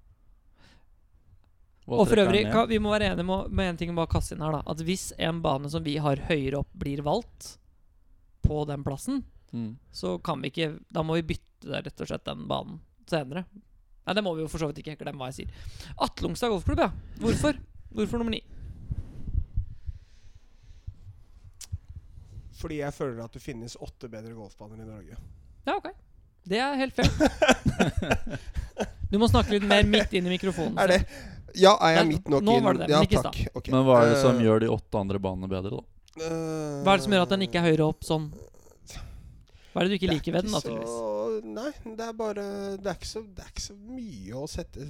C: Hva
B: Og for
C: trekker
B: øvrig,
C: han ned?
B: kan, vi må være enige med, med en ting om å kaste inn her, da. At hvis en bane som vi har høyere opp, blir valgt på den plassen,
C: mm.
B: så kan vi ikke Da må vi bytte det, rett og slett den banen senere. Nei, det må vi jo for så vidt ikke. Glem hva jeg sier. Atlungstad golfklubb, ja. Hvorfor? Hvorfor nummer ni?
A: Fordi jeg føler at det finnes åtte bedre golfbaner i Norge.
B: Ja, ok. Det er helt fair. Du må snakke litt mer midt inn i mikrofonen.
A: Er det Ja, er jeg
B: Nei,
A: midt nok
B: Mm. nå
A: inn?
B: var det det,
A: ja,
B: men ikke i
A: takk. Ok.
C: Men hva er det som
A: Eh,
C: gjør de åtte andre banene bedre, da?
A: eh,
B: Hva er det som gjør at den ikke er høyere opp sånn? Hva er det du ikke
A: Det er
B: liker ved den, da,
A: så-
B: tydeligvis?
A: Nei, det er bare det er, ikke så, det er ikke så mye å sette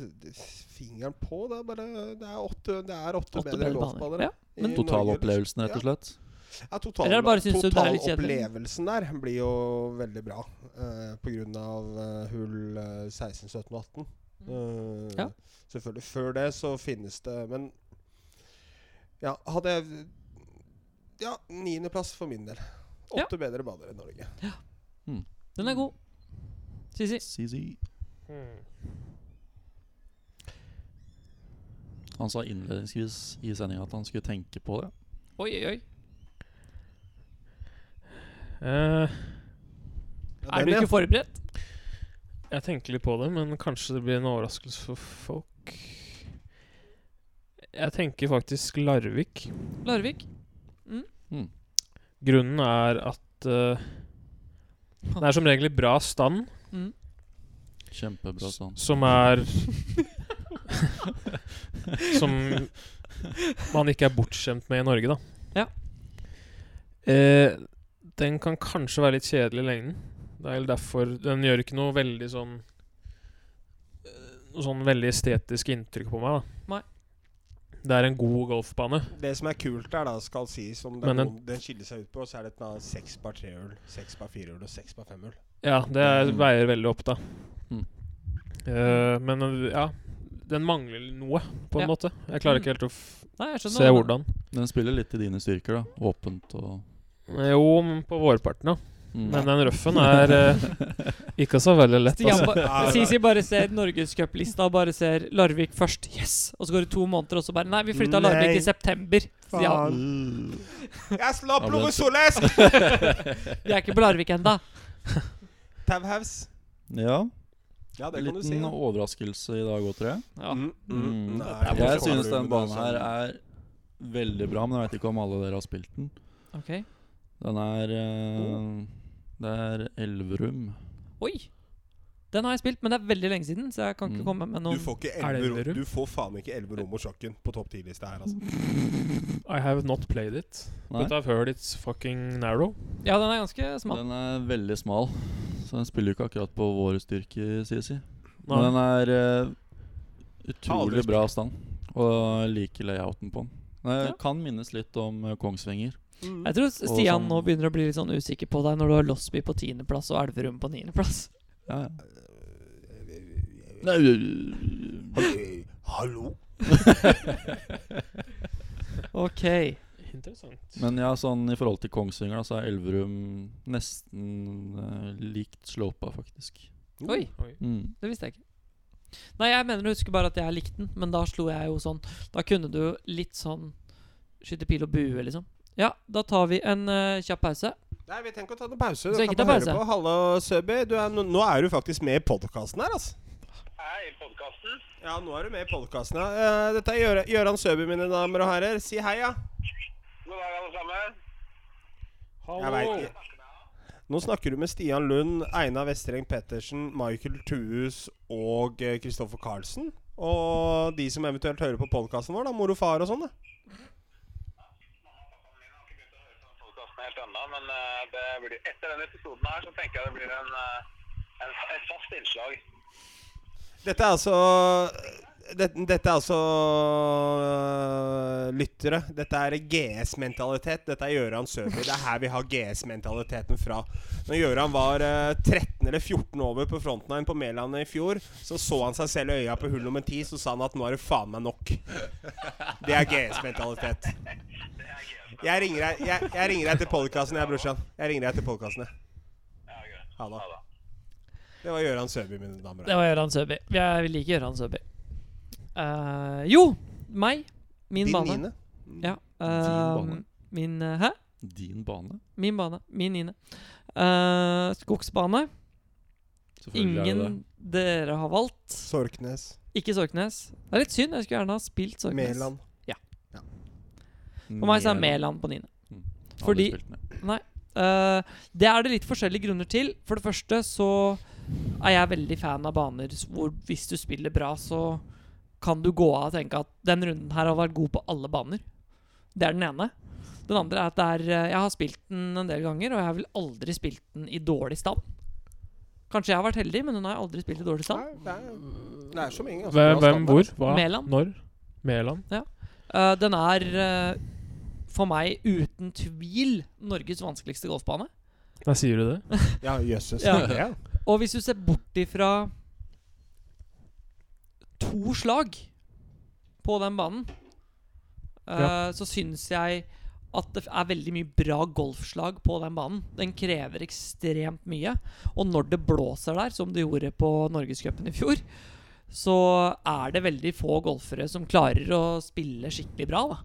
A: fingeren på. Det er bare Det er åtte, det er åtte,
B: Åtte
A: bedre
B: bedre baner.
A: golfbaner.
B: Ja. men-
A: i Norge, liksom.
C: Totalopplevelsen, rett og slett?
A: Ja, total,
B: Eller er det bare synes du det er litt kjedelig?
A: Totalopplevelsen der blir jo veldig bra eh, på grunn av eh, hull eh, 16, 17 og 18. Eh,
B: Mm. Ja.
A: Selvfølgelig. Før det så finnes det Men ja, hadde jeg Ja, niendeplass for min del.
B: Ja.
A: Åtte bedre baner i Norge.
B: Den er god. Sisi.
C: CZ. Han sa innledningsvis i sendinga at han skulle tenke på det.
B: Oi, oi, oi.
D: Eh,
A: Ja,
B: Er
A: den,
B: du
A: ja.
B: ikke forberedt?
D: jeg tenker litt på det, men kanskje det blir en overraskelse for folk. Jeg tenker faktisk Larvik.
B: Larvik?
C: Mm.
D: Grunnen er at eh, det er som regel i bra stand,
B: Mm.
C: Kjempebra sånn.
D: som er Som man ikke er bortskjemt med i Norge, da.
B: Ja.
D: Eh, den kan kanskje være litt kjedelig i lengden. Det er vel derfor Den gjør ikke noe veldig sånn eh, Noe sånn veldig estetisk inntrykk på meg, da.
B: Nei.
D: Det er en god golfbane.
A: Det som er kult der, da, skal sies om det
D: Men
A: er
D: den-
A: noen den skiller seg ut på, så er det et eller annet seks par trehull, seks par firehull og seks par femhull.
D: Ja, det er,
C: Mm.
D: veier veldig opp, da.
C: Mm.
D: Eh, men eh, ja Den mangler noe, på
B: Ja.
D: en måte. Jeg klarer ikke
B: Mm.
D: helt å f
B: Nei, jeg skjønner.
D: se hvordan.
C: Den spiller litt i dine styrker, da. Åpent og
D: Eh, Jo, men på vårparten, da.
C: mm.
D: Men den røffen er eh, ikke så veldig lett.
B: Stian
D: Altså.
B: ba Sisi bare ser norgescuplista og bare ser Larvik først. Yes! Og så går det to måneder, og så bare Nei, vi flytta Larvik
A: Nei.
B: i september. Stian,
C: Uh,
A: Jeg slapp
C: Ja, men-
A: provisorisk!
B: vi er ikke på Larvik ennå.
A: Tauhaus.
C: Ja.
A: Ja, det kan du
C: Liten
A: si. ja.
C: overraskelse i dag òg, tror jeg.
B: Ja.
A: Mm,
C: Mm.
A: Nei,
C: Jeg
A: forstår
C: synes
A: det,
C: den
A: men
C: banen
A: det
C: her
A: sånn-
C: er veldig bra, men jeg vet ikke om alle dere har spilt den.
B: Ok.
C: Den er eh, Det er Elverum.
B: Oi! Den har jeg spilt, men det er veldig lenge siden, så jeg kan ikke
C: Mm.
B: komme med noen
A: Du får ikke
D: Er det
A: elleve rom
D: Elverum?
A: Du får faen ikke elleve rom og sjakken på topp ti-lista her, altså.
D: I have not played it,
C: Nei,
D: but I've heard it's fucking narrow.
B: Ja, den er ganske smal.
C: den er veldig smal. Så Så den spiller jo ikke akkurat på våre styrker, sies det.
D: Nei.
C: Men den er eh,
A: Har aldri
C: utrolig bra stand, og jeg liker layouten på den. Den
B: Ja.
C: kan minnes litt om eh, Kongsvinger.
B: Jeg tror Stian
C: sånn-
B: nå begynner å bli litt sånn usikker på deg når du har Losby på tiendeplass og Elverum på niendeplass.
C: Ja, ja. Nei,
A: Hallo?
B: Ok.
D: Interessant.
C: Men ja, sånn i forhold til Kongsvinger, da, så er Elverum nesten eh, likt Slopa, faktisk.
B: Oi,
D: Oi.
C: Mm.
B: det visste jeg ikke. Nei, jeg mener å huske bare at jeg likte den, men da slo jeg jo sånn Da kunne du litt sånn skyte pil og bue, liksom. Ja, da tar vi en eh, kjapp pause.
A: Nei, vi trenger ikke å ta noen pause. Du
B: Skal
A: kan
B: ikke ta
A: få høre
B: pause?
A: på. Hallo, Søby. Du er, nå- nå er du faktisk med i podkasten her, altså.
E: Hei, podkasten.
A: Ja, nå er du med i podkasten. Ja. Eh, dette er Gjøra- Gøran Søby, mine damer og herrer. Si hei, ja.
E: God dag, alle sammen.
A: Jeg vet ikke. Nå snakker du med Stian Lund, Einar Vestreng Pettersen, Michael Tuus og eh, Kristoffer Carlsen. Og de som eventuelt hører på podkasten vår, da. Mor og far og sånn, da.
E: Jeg har ikke begynt å høre på den podkasten helt ennå, men eh, det blir, etter denne episoden her så tenker jeg det blir en, eh, en, et fast innslag.
A: Dette er altså det, Dette er altså øh, lyttere. Dette er GS-mentalitet. Dette er Gjøran Søby. Det er her vi har GS-mentaliteten fra. Når Gjøran var øh, 13 eller 14 over på frontline på Mæland i fjor, så så han seg selv i øya på hull nummer 10, så sa han at nå er det faen meg nok. Det er GS-mentalitet. Jeg ringer deg Jeg, jeg ringer deg til podkasten, jeg, brorsan. Jeg ringer deg til podkasten, jeg.
E: Ja, greit.
A: Ha det.
E: Ha det.
A: Det var Gjøran Søby, mine damer og
B: Det var Gøran Søby. Jeg liker Gøran Søby. Eh, jo, meg. Min
A: Din
B: bane.
A: niende.
B: Ja.
C: Din bane.
B: eh, min eh, Hæ?
C: Din bane?
B: Min bane. Min niende. Eh, skogsbane.
C: Selvfølgelig er det det.
B: Ingen dere har valgt.
A: Sorknes.
B: Ikke Sorknes. Det er litt synd. Jeg skulle gjerne ha spilt Sorknes.
A: Mæland.
B: For meg så er
C: Mer-
B: Mæland på niende.
C: Mm. Aldri
B: fordi-
C: spilt med.
B: Eh, det er det litt forskjellige grunner til. For det første så er jeg veldig fan av baner hvor hvis du spiller bra, så kan du gå av og tenke at den runden her har vært god på alle baner. Det er den ene. Den andre er at det er, eh, jeg har spilt den en del ganger, og jeg har vel aldri spilt den i dårlig stand. Kanskje jeg har vært heldig, men hun har jeg aldri spilt i dårlig stand.
A: Nei, det er, det er så mange. ganske bra
D: Hvem, hvem
A: standard,
D: hvor?
A: altså.
D: Hva?
B: Mæland.
D: Når? Mæland.
B: Eh, den er eh, for meg uten tvil Norges vanskeligste golfbane.
D: Nei, sier du det?
A: Ja, jøsses.
B: Ja.
A: det, Ja.
B: Og hvis du ser bort ifra to slag på den banen, eh, så syns jeg at det er veldig mye bra golfslag på den banen. Den krever ekstremt mye. Og når det blåser der, som det gjorde på Norgescupen i fjor, så er det veldig få golfere som klarer å spille skikkelig bra, da.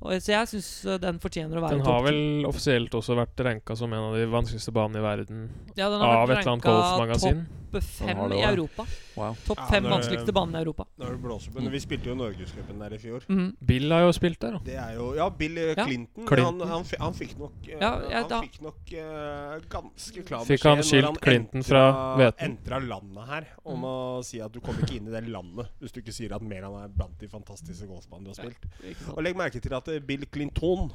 B: Og, så jeg syns den fortjener å være
D: Den
B: topp
D: har
B: ti.
D: vel offisielt også vært ranka som en av de vanskeligste banene i verden
B: ja, den har
D: av
B: vært
D: et eller annet
B: ranka
D: golfmagasin.
B: Topp fem
C: har det
B: i
C: også.
B: Europa.
C: Wow.
B: Topp
A: Ja,
B: fem
A: når-
B: vanskeligste banene i Europa.
A: Når det blåser på. Men Vi spilte jo Norgescupen der i fjor.
B: Mhm.
D: Bill har jo spilt der, da.
A: Det er jo Ja, Bill eh,
B: Ja.
A: Clinton.
D: Clinton.
A: Han, han, fi- han fikk nok eh,
B: Ja, jeg- da-
A: Han fikk nok eh, ganske klar
D: Fikk han
A: beskjed når
D: skilt Clinton fra
A: entra-
D: hveten?
A: Entra landet her
B: Mm.
A: om å si at du kommer ikke inn i det landet hvis du ikke sier at Mæland er blant de fantastiske golfbanene du har spilt. Og legg merke til at eh, Bill Clinton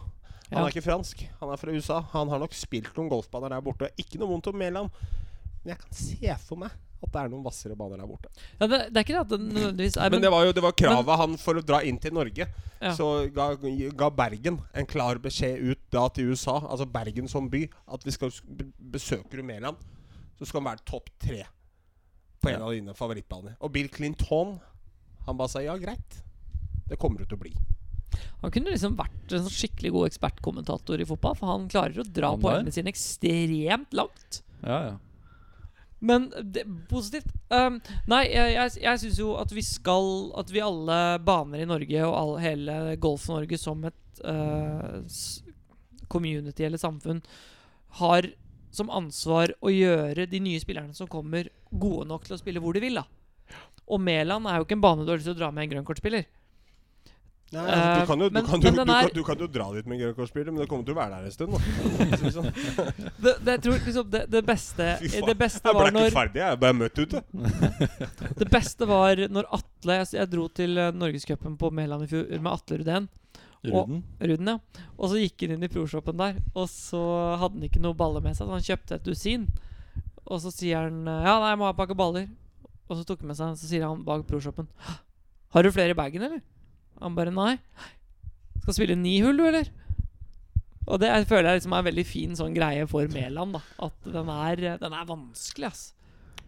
A: Han
B: Ja.
A: er ikke fransk, han er fra USA. Han har nok spilt noen golfbaner der borte. Ikke noe vondt om Mæland, men jeg kan se for meg at det er noen hvassere baner der borte.
B: Ja, det, det er ikke det at den nødvendigvis er
A: Men det var jo det var kravet han for å dra inn til Norge.
B: Ja.
A: Så ga, ga Bergen en klar beskjed ut da til USA, altså Bergen som by, at vi skal b- besøker du Mæland, så skal han være topp tre på en av dine favorittbaner. Og Bill Clinton, han bare sa ja, greit. Det kommer du til å bli.
B: Han kunne liksom vært en sånn skikkelig god ekspertkommentator i fotball, for han klarer å dra
C: Han der?
B: poengene sine ekstremt langt.
C: Ja, ja.
B: Men det, positivt. Um, nei, jeg, jeg, jeg syns jo at vi skal At vi alle baner i Norge og all, hele Golf-Norge som et eh, s- community eller samfunn har som ansvar å gjøre de nye spillerne som kommer, gode nok til å spille hvor de vil. da Og Mæland er jo ikke en bane du har lyst til å dra med en grønnkortspiller.
A: Nei, altså,
B: Eh,
A: du, kan jo, du,
B: men-
A: kan jo,
B: men
A: du,
B: den
A: kan,
B: er-
A: du kan jo dra dit med grønnkortspiller, men det kommer til å være der en stund. Da. Så sånn.
B: Det, det, jeg tror liksom det, det beste
A: Fy faen,
B: Det beste
A: Jeg ble
B: var
A: ikke
B: når
A: ferdig, jeg ble møtt ute.
B: Det beste var når Atle Jeg, jeg dro til eh, Norgescupen på Mæland i fjor med Atle Rudén. Og-
C: Ruden.
B: Ruden, ja. Og så gikk han inn i proshoppen der, og så hadde han ikke noe baller med seg, så han kjøpte et dusin. Og så sier han eh, Ja, nei, jeg må ha en pakke baller. Og så tok han med seg Så sier han bak proshoppen «Hæ? Har du flere i bagen, eller? Han bare nei. Skal spille ni hull, du, eller? Og det er- føler jeg liksom er en veldig fin sånn greie for Mæland, da. At den er, den er vanskelig, ass.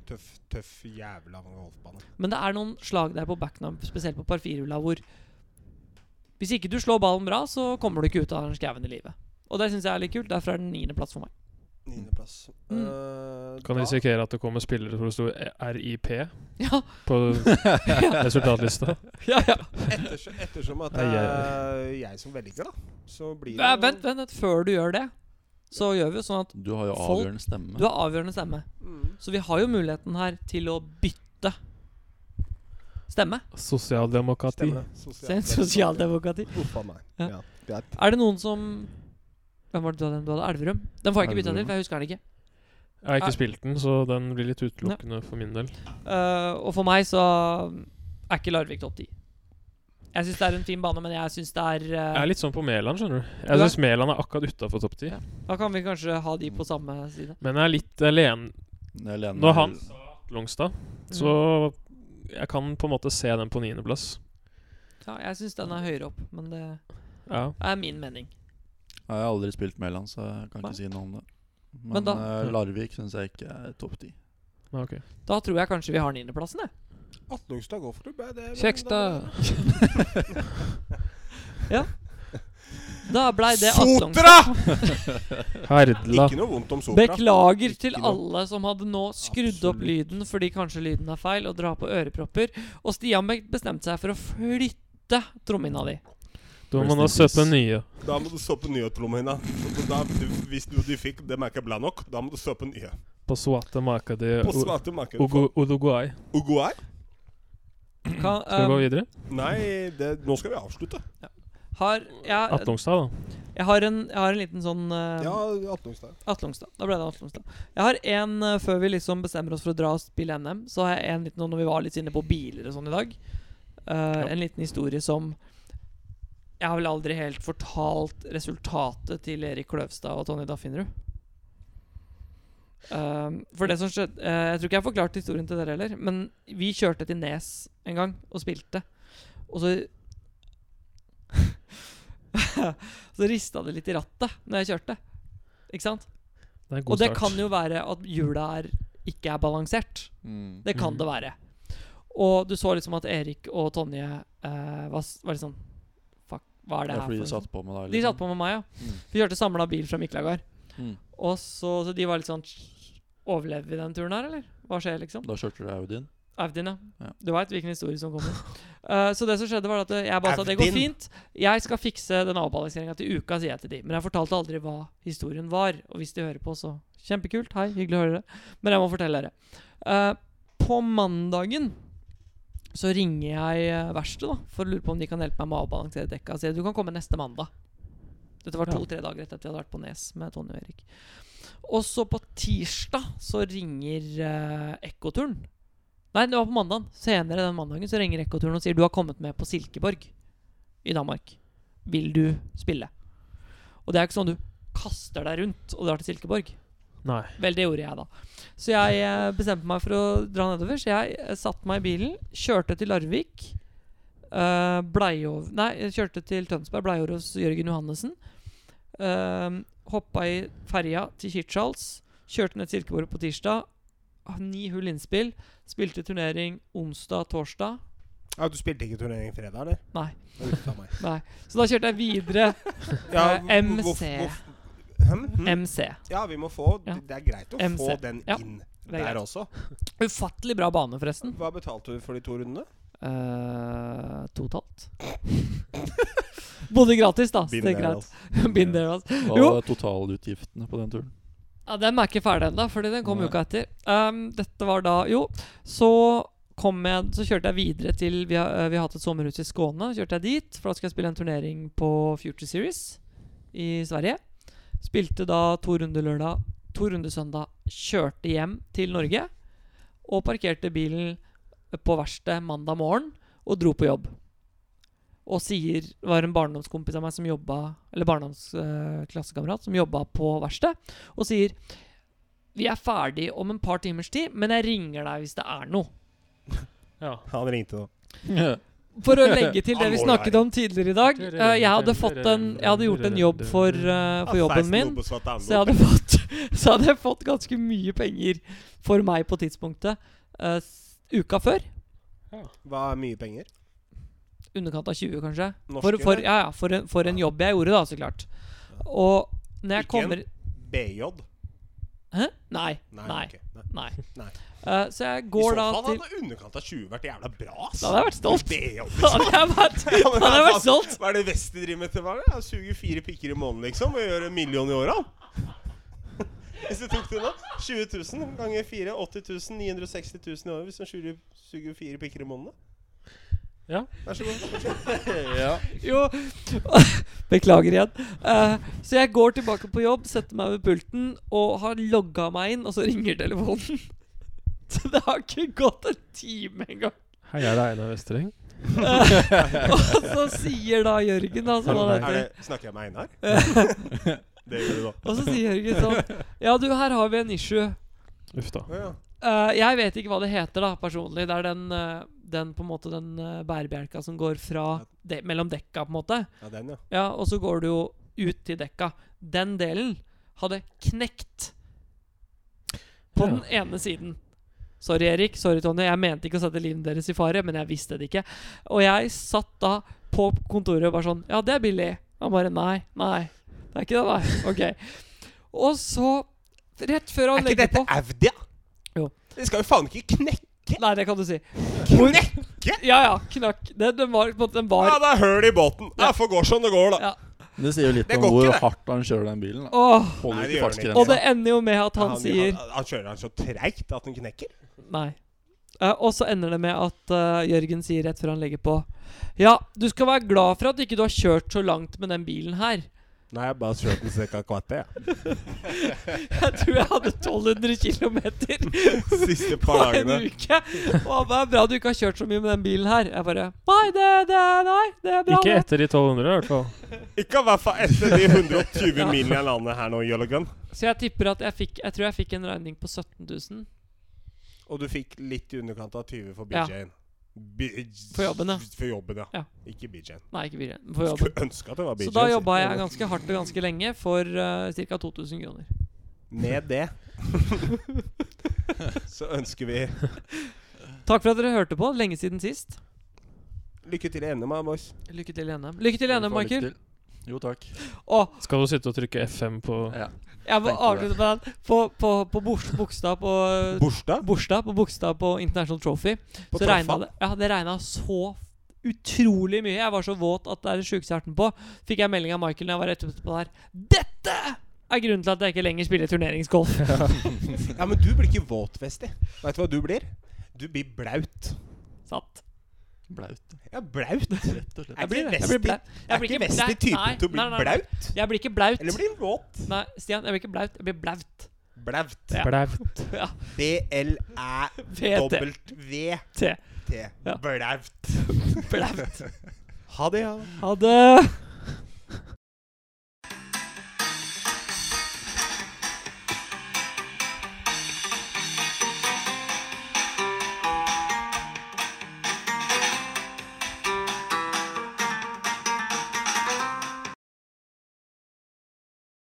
A: Tøff, tøff jævla golfbane.
B: Men det er noen slag der på backnump, spesielt på par firehjula, hvor hvis ikke du slår ballen bra, så kommer du ikke ut av den skauen i livet. Og det syns jeg er litt kult. Derfor er den niendeplass for meg.
A: Niendeplass.
B: Mm.
A: Eh,
D: Kan
A: da-
D: risikere at det kommer spillere hvor det sto RIP
B: Ja,
D: på resultatlista.
B: ja, ja.
A: Ettersom, ettersom at det
D: Ai,
A: er jeg som velger, da, så blir det
B: Vent, vent, vent. Før du gjør det, så gjør vi jo sånn at
C: Du har jo
B: Folk-
C: avgjørende stemme.
B: du har avgjørende stemme.
A: Mm.
B: Så vi har jo muligheten her til å bytte stemme.
D: Sosialdemokrati.
A: Stemmer det.
B: Se en sosialdemokrati.
A: Uff a meg.
B: Ja.
A: Ja, greit.
B: Er det noen som Hvem var det du hadde? Du hadde Elverum? Den får jeg ikke bytta til,
C: Elverum.
B: for jeg husker den ikke.
D: Jeg har ikke spilt den, så den blir litt utelukkende for min del.
B: Eh, og for meg så er ikke Larvik topp 10. Jeg syns det er en fin bane, men jeg syns det er
D: Jeg
B: eh,
D: er litt sånn på Mæland, skjønner du.
B: Du
D: Jeg
B: er-
D: syns Mæland er akkurat utafor topp ti.
B: Da kan vi kanskje ha de på samme side.
D: Men jeg er litt alene
C: Jeg lener
D: Når han sa Longstad, så jeg kan på en måte se den på niendeplass.
B: Ja, jeg syns den er høyere opp, men det
D: Ja.
B: er min mening.
C: Jeg har aldri spilt Mæland, så jeg kan
B: Nei.
C: ikke si noe om det. Men,
B: Men da-
C: eh, Larvik syns jeg ikke er topp ti.
D: ja, ok.
B: Da tror jeg kanskje vi har niendeplassen, jeg.
A: Atlungstad golfklubb er det
D: Kjekstad!
B: Da blei det Atlongstad.
A: Sotra!
D: Herdla.
A: Ikke noe vondt om Sotra.
B: Beklager til
A: Ikke noe.
B: alle som hadde nå skrudd opp
A: Absolutt.
B: lyden fordi kanskje lyden er feil, og dra på ørepropper. Og Stian Beck bestemte seg for å flytte trommehinna di.
D: Da må man søpe nye.
A: Da må du stå på nyhetslommehina. Hvis du, du fikk dem er ikke bra nok, da må du stå på nye.
D: På Suate Markade
A: På svarte marked for
D: Uruguay.
A: Uruguay?
B: Kan,
D: Skal vi gå
B: eh,
D: videre?
A: Nei, det, nå skal vi avslutte.
B: har, jeg,
D: Atlongstad, da.
B: jeg, har en, jeg har en liten sånn eh,
A: Ja, Atlungstad.
B: Atle Ongstad. Da ble det Atle Ongstad. Jeg har en eh, Før vi liksom bestemmer oss for å dra og spille NM, så har jeg en liten nå når vi var litt inne på biler og sånn i dag. Eh, En liten historie som Jeg har vel aldri helt fortalt resultatet til Erik Kløvstad og Tonje Daffinrud. Eh, for det som skjedde eh, Jeg tror ikke jeg har forklart historien til dere heller, men vi kjørte til Nes en gang og spilte, og så Så rista det litt i rattet når jeg kjørte. Ikke sant?
D: Det er en
B: Og
D: god
B: det
D: start.
B: kan jo være at hjula er, ikke er balansert.
C: Mm.
B: Det kan
D: Mm.
B: det være. Og du så liksom at Erik og Tonje eh, var, s- var litt sånn Fuck, hva er
C: Det
B: det
C: er
B: her
C: fordi de
B: for?
C: satt på med deg.
B: De satt på med meg, ja.
C: Mm.
B: Vi kjørte samla bil fra Miklagard.
C: Mm.
B: Og så, så de var litt sånn Overlever vi den turen her, eller? Hva skjer, liksom?
C: Da kjørte du Audien.
B: Audin, ja.
C: Ja.
B: Du veit hvilken historie som kommer. Eh, så det som skjedde, var at jeg bare sa det går
A: Audin.
B: fint. Jeg skal fikse den avbalanseringa til uka, sier jeg til de. Men jeg fortalte aldri hva historien var. Og hvis de hører på, så kjempekult. Hei, hyggelig å høre dere. Men jeg må fortelle dere. Eh, på mandagen så ringer jeg eh, verkstedet da, for å lure på om de kan hjelpe meg med å avbalansere dekka. Og sier du kan komme neste mandag. Dette var
D: Ja.
B: to-tre dager etter at vi hadde vært på Nes med Tonje og Erik. Og så på tirsdag så ringer eh, Ekkoturen. Nei, det var på mandagen. Senere den mandagen så ringer Ekkoturen og sier du har kommet med på Silkeborg i Danmark. Vil du spille? Og det er ikke sånn du kaster deg rundt og drar til Silkeborg.
D: Nei.
B: Vel, det gjorde jeg, da. Så jeg eh, bestemte meg for å dra nedover. Så jeg eh, satte meg i bilen, kjørte til Larvik. eh, Bleiov... Nei, jeg kjørte til Tønsberg, Bleiov hos Jørgen Johannessen. eh, hoppa i ferja til Hirtshals. Kjørte ned til Silkeborg på tirsdag. Ah, Ni hull innspill. Spilte turnering onsdag, torsdag.
A: Ja, du spilte ikke turnering fredag, eller?
B: Nei.
A: Uff a meg.
B: Så da kjørte jeg videre
A: Ja,
B: Eh, MC.
A: hvorf- hvorf- Hm? Hm?
B: MC.
A: Ja, vi må få
B: Ja.
A: Det er greit å
B: MC.
A: få den
B: Ja,
A: inn
B: er
A: der
B: greit.
A: også.
B: Ufattelig bra bane, forresten.
A: Hva betalte du for de to rundene?
B: Uh, totalt. Bodde gratis, da. Så det er greit. Been there, altså.
C: Hva
B: Jo.
C: var totalutgiftene på den turen?
B: Ja, den er ikke ferdig ennå, fordi den kom
C: Nei.
B: uka etter. Um, dette var da Jo, så kom jeg Så kjørte jeg videre til Vi har, eh, vi har hatt et sommerhus i Skåne. Kjørte jeg dit, for da skal jeg spille en turnering på Future Series i Sverige. Spilte da to runder lørdag, to runder søndag. Kjørte hjem til Norge. Og parkerte bilen på verkstedet mandag morgen og dro på jobb. Og sier Det var en barndomskompis av meg som jobba Eller barndomsklassekamerat som jobba på verkstedet, og sier Vi er ferdig om en par timers tid, men jeg ringer deg hvis det er noe.
D: Ja.
A: Han ringte nå.
B: For å legge til det vi snakket om tidligere i dag eh, Jeg hadde, fått en, jeg hadde gjort en jobb for, eh, for jobben min. Så jeg hadde fått, så hadde jeg fått ganske mye penger for meg på tidspunktet eh, s- uka før.
A: Hva er mye penger?
B: Underkant av 20, kanskje.
A: Norske,
B: For, for,
A: eller?
B: ja, ja, for, en, for en jobb jeg gjorde, da, så klart. Og når jeg
A: Ikke en?
B: kommer
A: BJ?
B: Hæ? Nei.
A: Nei.
B: Nei.
A: ok, nei.
B: nei.
A: Nei.
B: Eh, så
A: I
B: jeg
A: så
B: går da
A: fall
B: til
A: hadde underkant av 20 vært jævla bra. ass.
B: Da hadde jeg vært stolt.
A: BJ.
B: Da hadde jeg vært, da hadde jeg vært stolt.
A: Hva er det West de driver med til hva? er det? Ja, Suger fire pikker i måneden, liksom, og gjør en million i året? Hvis du tok det nå 20 000 ganger 4 80 000, 960 000 i året hvis du suger, suger fire pikker i måneden.
D: Ja.
A: Vær så god.
C: ja.
B: Jo Beklager igjen. Eh, så jeg går tilbake på jobb, setter meg ved pulten og har logga meg inn, og så ringer telefonen. Så det har ikke gått en time engang.
D: Hei, er det Einar Vestereng?
B: Og så sier da Jørgen, da, som han
A: Er
B: heter
A: det, snakker jeg med Einar? det gjør du da.
B: Og så sier Jørgen sånn Ja, du, her har vi en issue.
D: Uff da.
A: Å ja.
B: Eh, jeg vet ikke hva det heter, da, personlig. Det er den, eh, den på en måte Den eh, bærebjelka som går fra de, mellom dekka, på en måte.
A: ja, den, ja.
B: Ja, og så går du jo ut til dekka. Den delen hadde knekt på
D: Ja.
B: den ene siden. Sorry, Erik. Sorry, Tonje. Jeg mente ikke å sette livet deres i fare, men jeg visste det ikke. Og jeg satt da på kontoret og bare sånn Ja, det er billig. Han bare Nei. Nei. Det er ikke det, nei. Ok. Og så, rett før han legger på
A: Avdia?
B: Jo.
A: Det skal jo faen ikke knekke!
B: Nei, det kan du si.
A: Knekke?!
B: Ja, ja. Knakk. Den, den var på en måte Den
A: Ja,
B: var
A: det er høl i båten. Det får gå som det går, da.
B: Ja.
C: Det sier jo litt
A: Det
C: om
A: går
C: hvor
A: ikke, det.
C: hardt han kjører den bilen. Da.
B: Åh.
A: Nei, det
C: Holder ikke
A: gjør han ikke.
C: fartsgrensa.
B: Og det ender jo med at han sier
A: han, han kjører han så treigt at den knekker.
B: Nei. Eh, og så ender det med at eh, Jørgen sier rett før han legger på Ja, du skal være glad for at ikke du har kjørt så langt med den bilen her.
A: Nei, jeg bare kjørte den cirka kvarter.
B: Jeg tror jeg hadde 1200 km
A: Siste
B: på
A: par
B: en
A: dagene.
B: uke. Og han bare Bra du ikke har kjørt så mye med den bilen her. Jeg bare Nei, det, det, nei, det er bra.
D: Ikke
B: det.»
D: etter de 1200, i hvert fall.
A: Ikke i hvert fall etter de 120 milene jeg lander her nå, Jøllegun.
B: Så jeg tipper at jeg fikk Jeg tror jeg fikk en regning på 17 000
A: Og du fikk litt i underkant av 20 for
B: Ja.
A: BJ-en. B-
B: For jobben, ja.
A: For jobben, ja.
B: Ja.
A: Ikke BJ-en.
B: Nei, ikke bilen. For jobben.
A: Skulle ønske at det var BJ.
B: Så da jobba jeg ganske hardt og ganske lenge for uh, ca. 2000 kroner.
A: Med det så ønsker vi
B: Takk for at dere hørte på. Lenge siden sist.
A: lykke til i NM, da, boys.
B: Lykke til i NM. Lykke til i NM, Michael.
C: Jo, takk.
B: Åh,
D: Skal du sitte og trykke F5 på
C: Ja.
B: Jeg må
C: Tenkte det.
B: avslutte med den. På, på, på Bors- Bogstad på
A: Bursdag?
B: Borstad på Bogstad på International Trophy
A: På
B: så regna
A: Troffa?
B: det Ja, det regna så utrolig mye. Jeg var så våt at det er det sjukeste jeg har vært med på. Fikk jeg melding av Michael når jeg var rett etterpå der. Dette er grunnen til at jeg ikke lenger spiller turneringsgolf.
A: Ja, men du blir ikke våtvestig. Veit du hva du blir? Du blir blaut.
B: Sant.
C: Blaut.
A: Ja, blaut.
C: Rett og slett.
A: Er ikke
B: jeg blir
A: Vesti-
B: blau- jeg
A: Er
B: blir
A: ikke
B: ikke
A: Vesti
B: blaut. Nei,
A: typen til å bli
B: nei, nei, nei.
A: blaut?
B: Jeg blir ikke blaut.
A: Eller blir han våt?
B: Nei, Stian, jeg blir ikke blaut. Jeg blir blaut.
A: Blaut.
B: Ja.
D: blaut?
B: Ja. VT.
A: B-l-æ-dobbelt-v-t.
B: T. Ja.
A: Blaut.
B: Blaut.
A: Ha det, ja.
B: Ha det.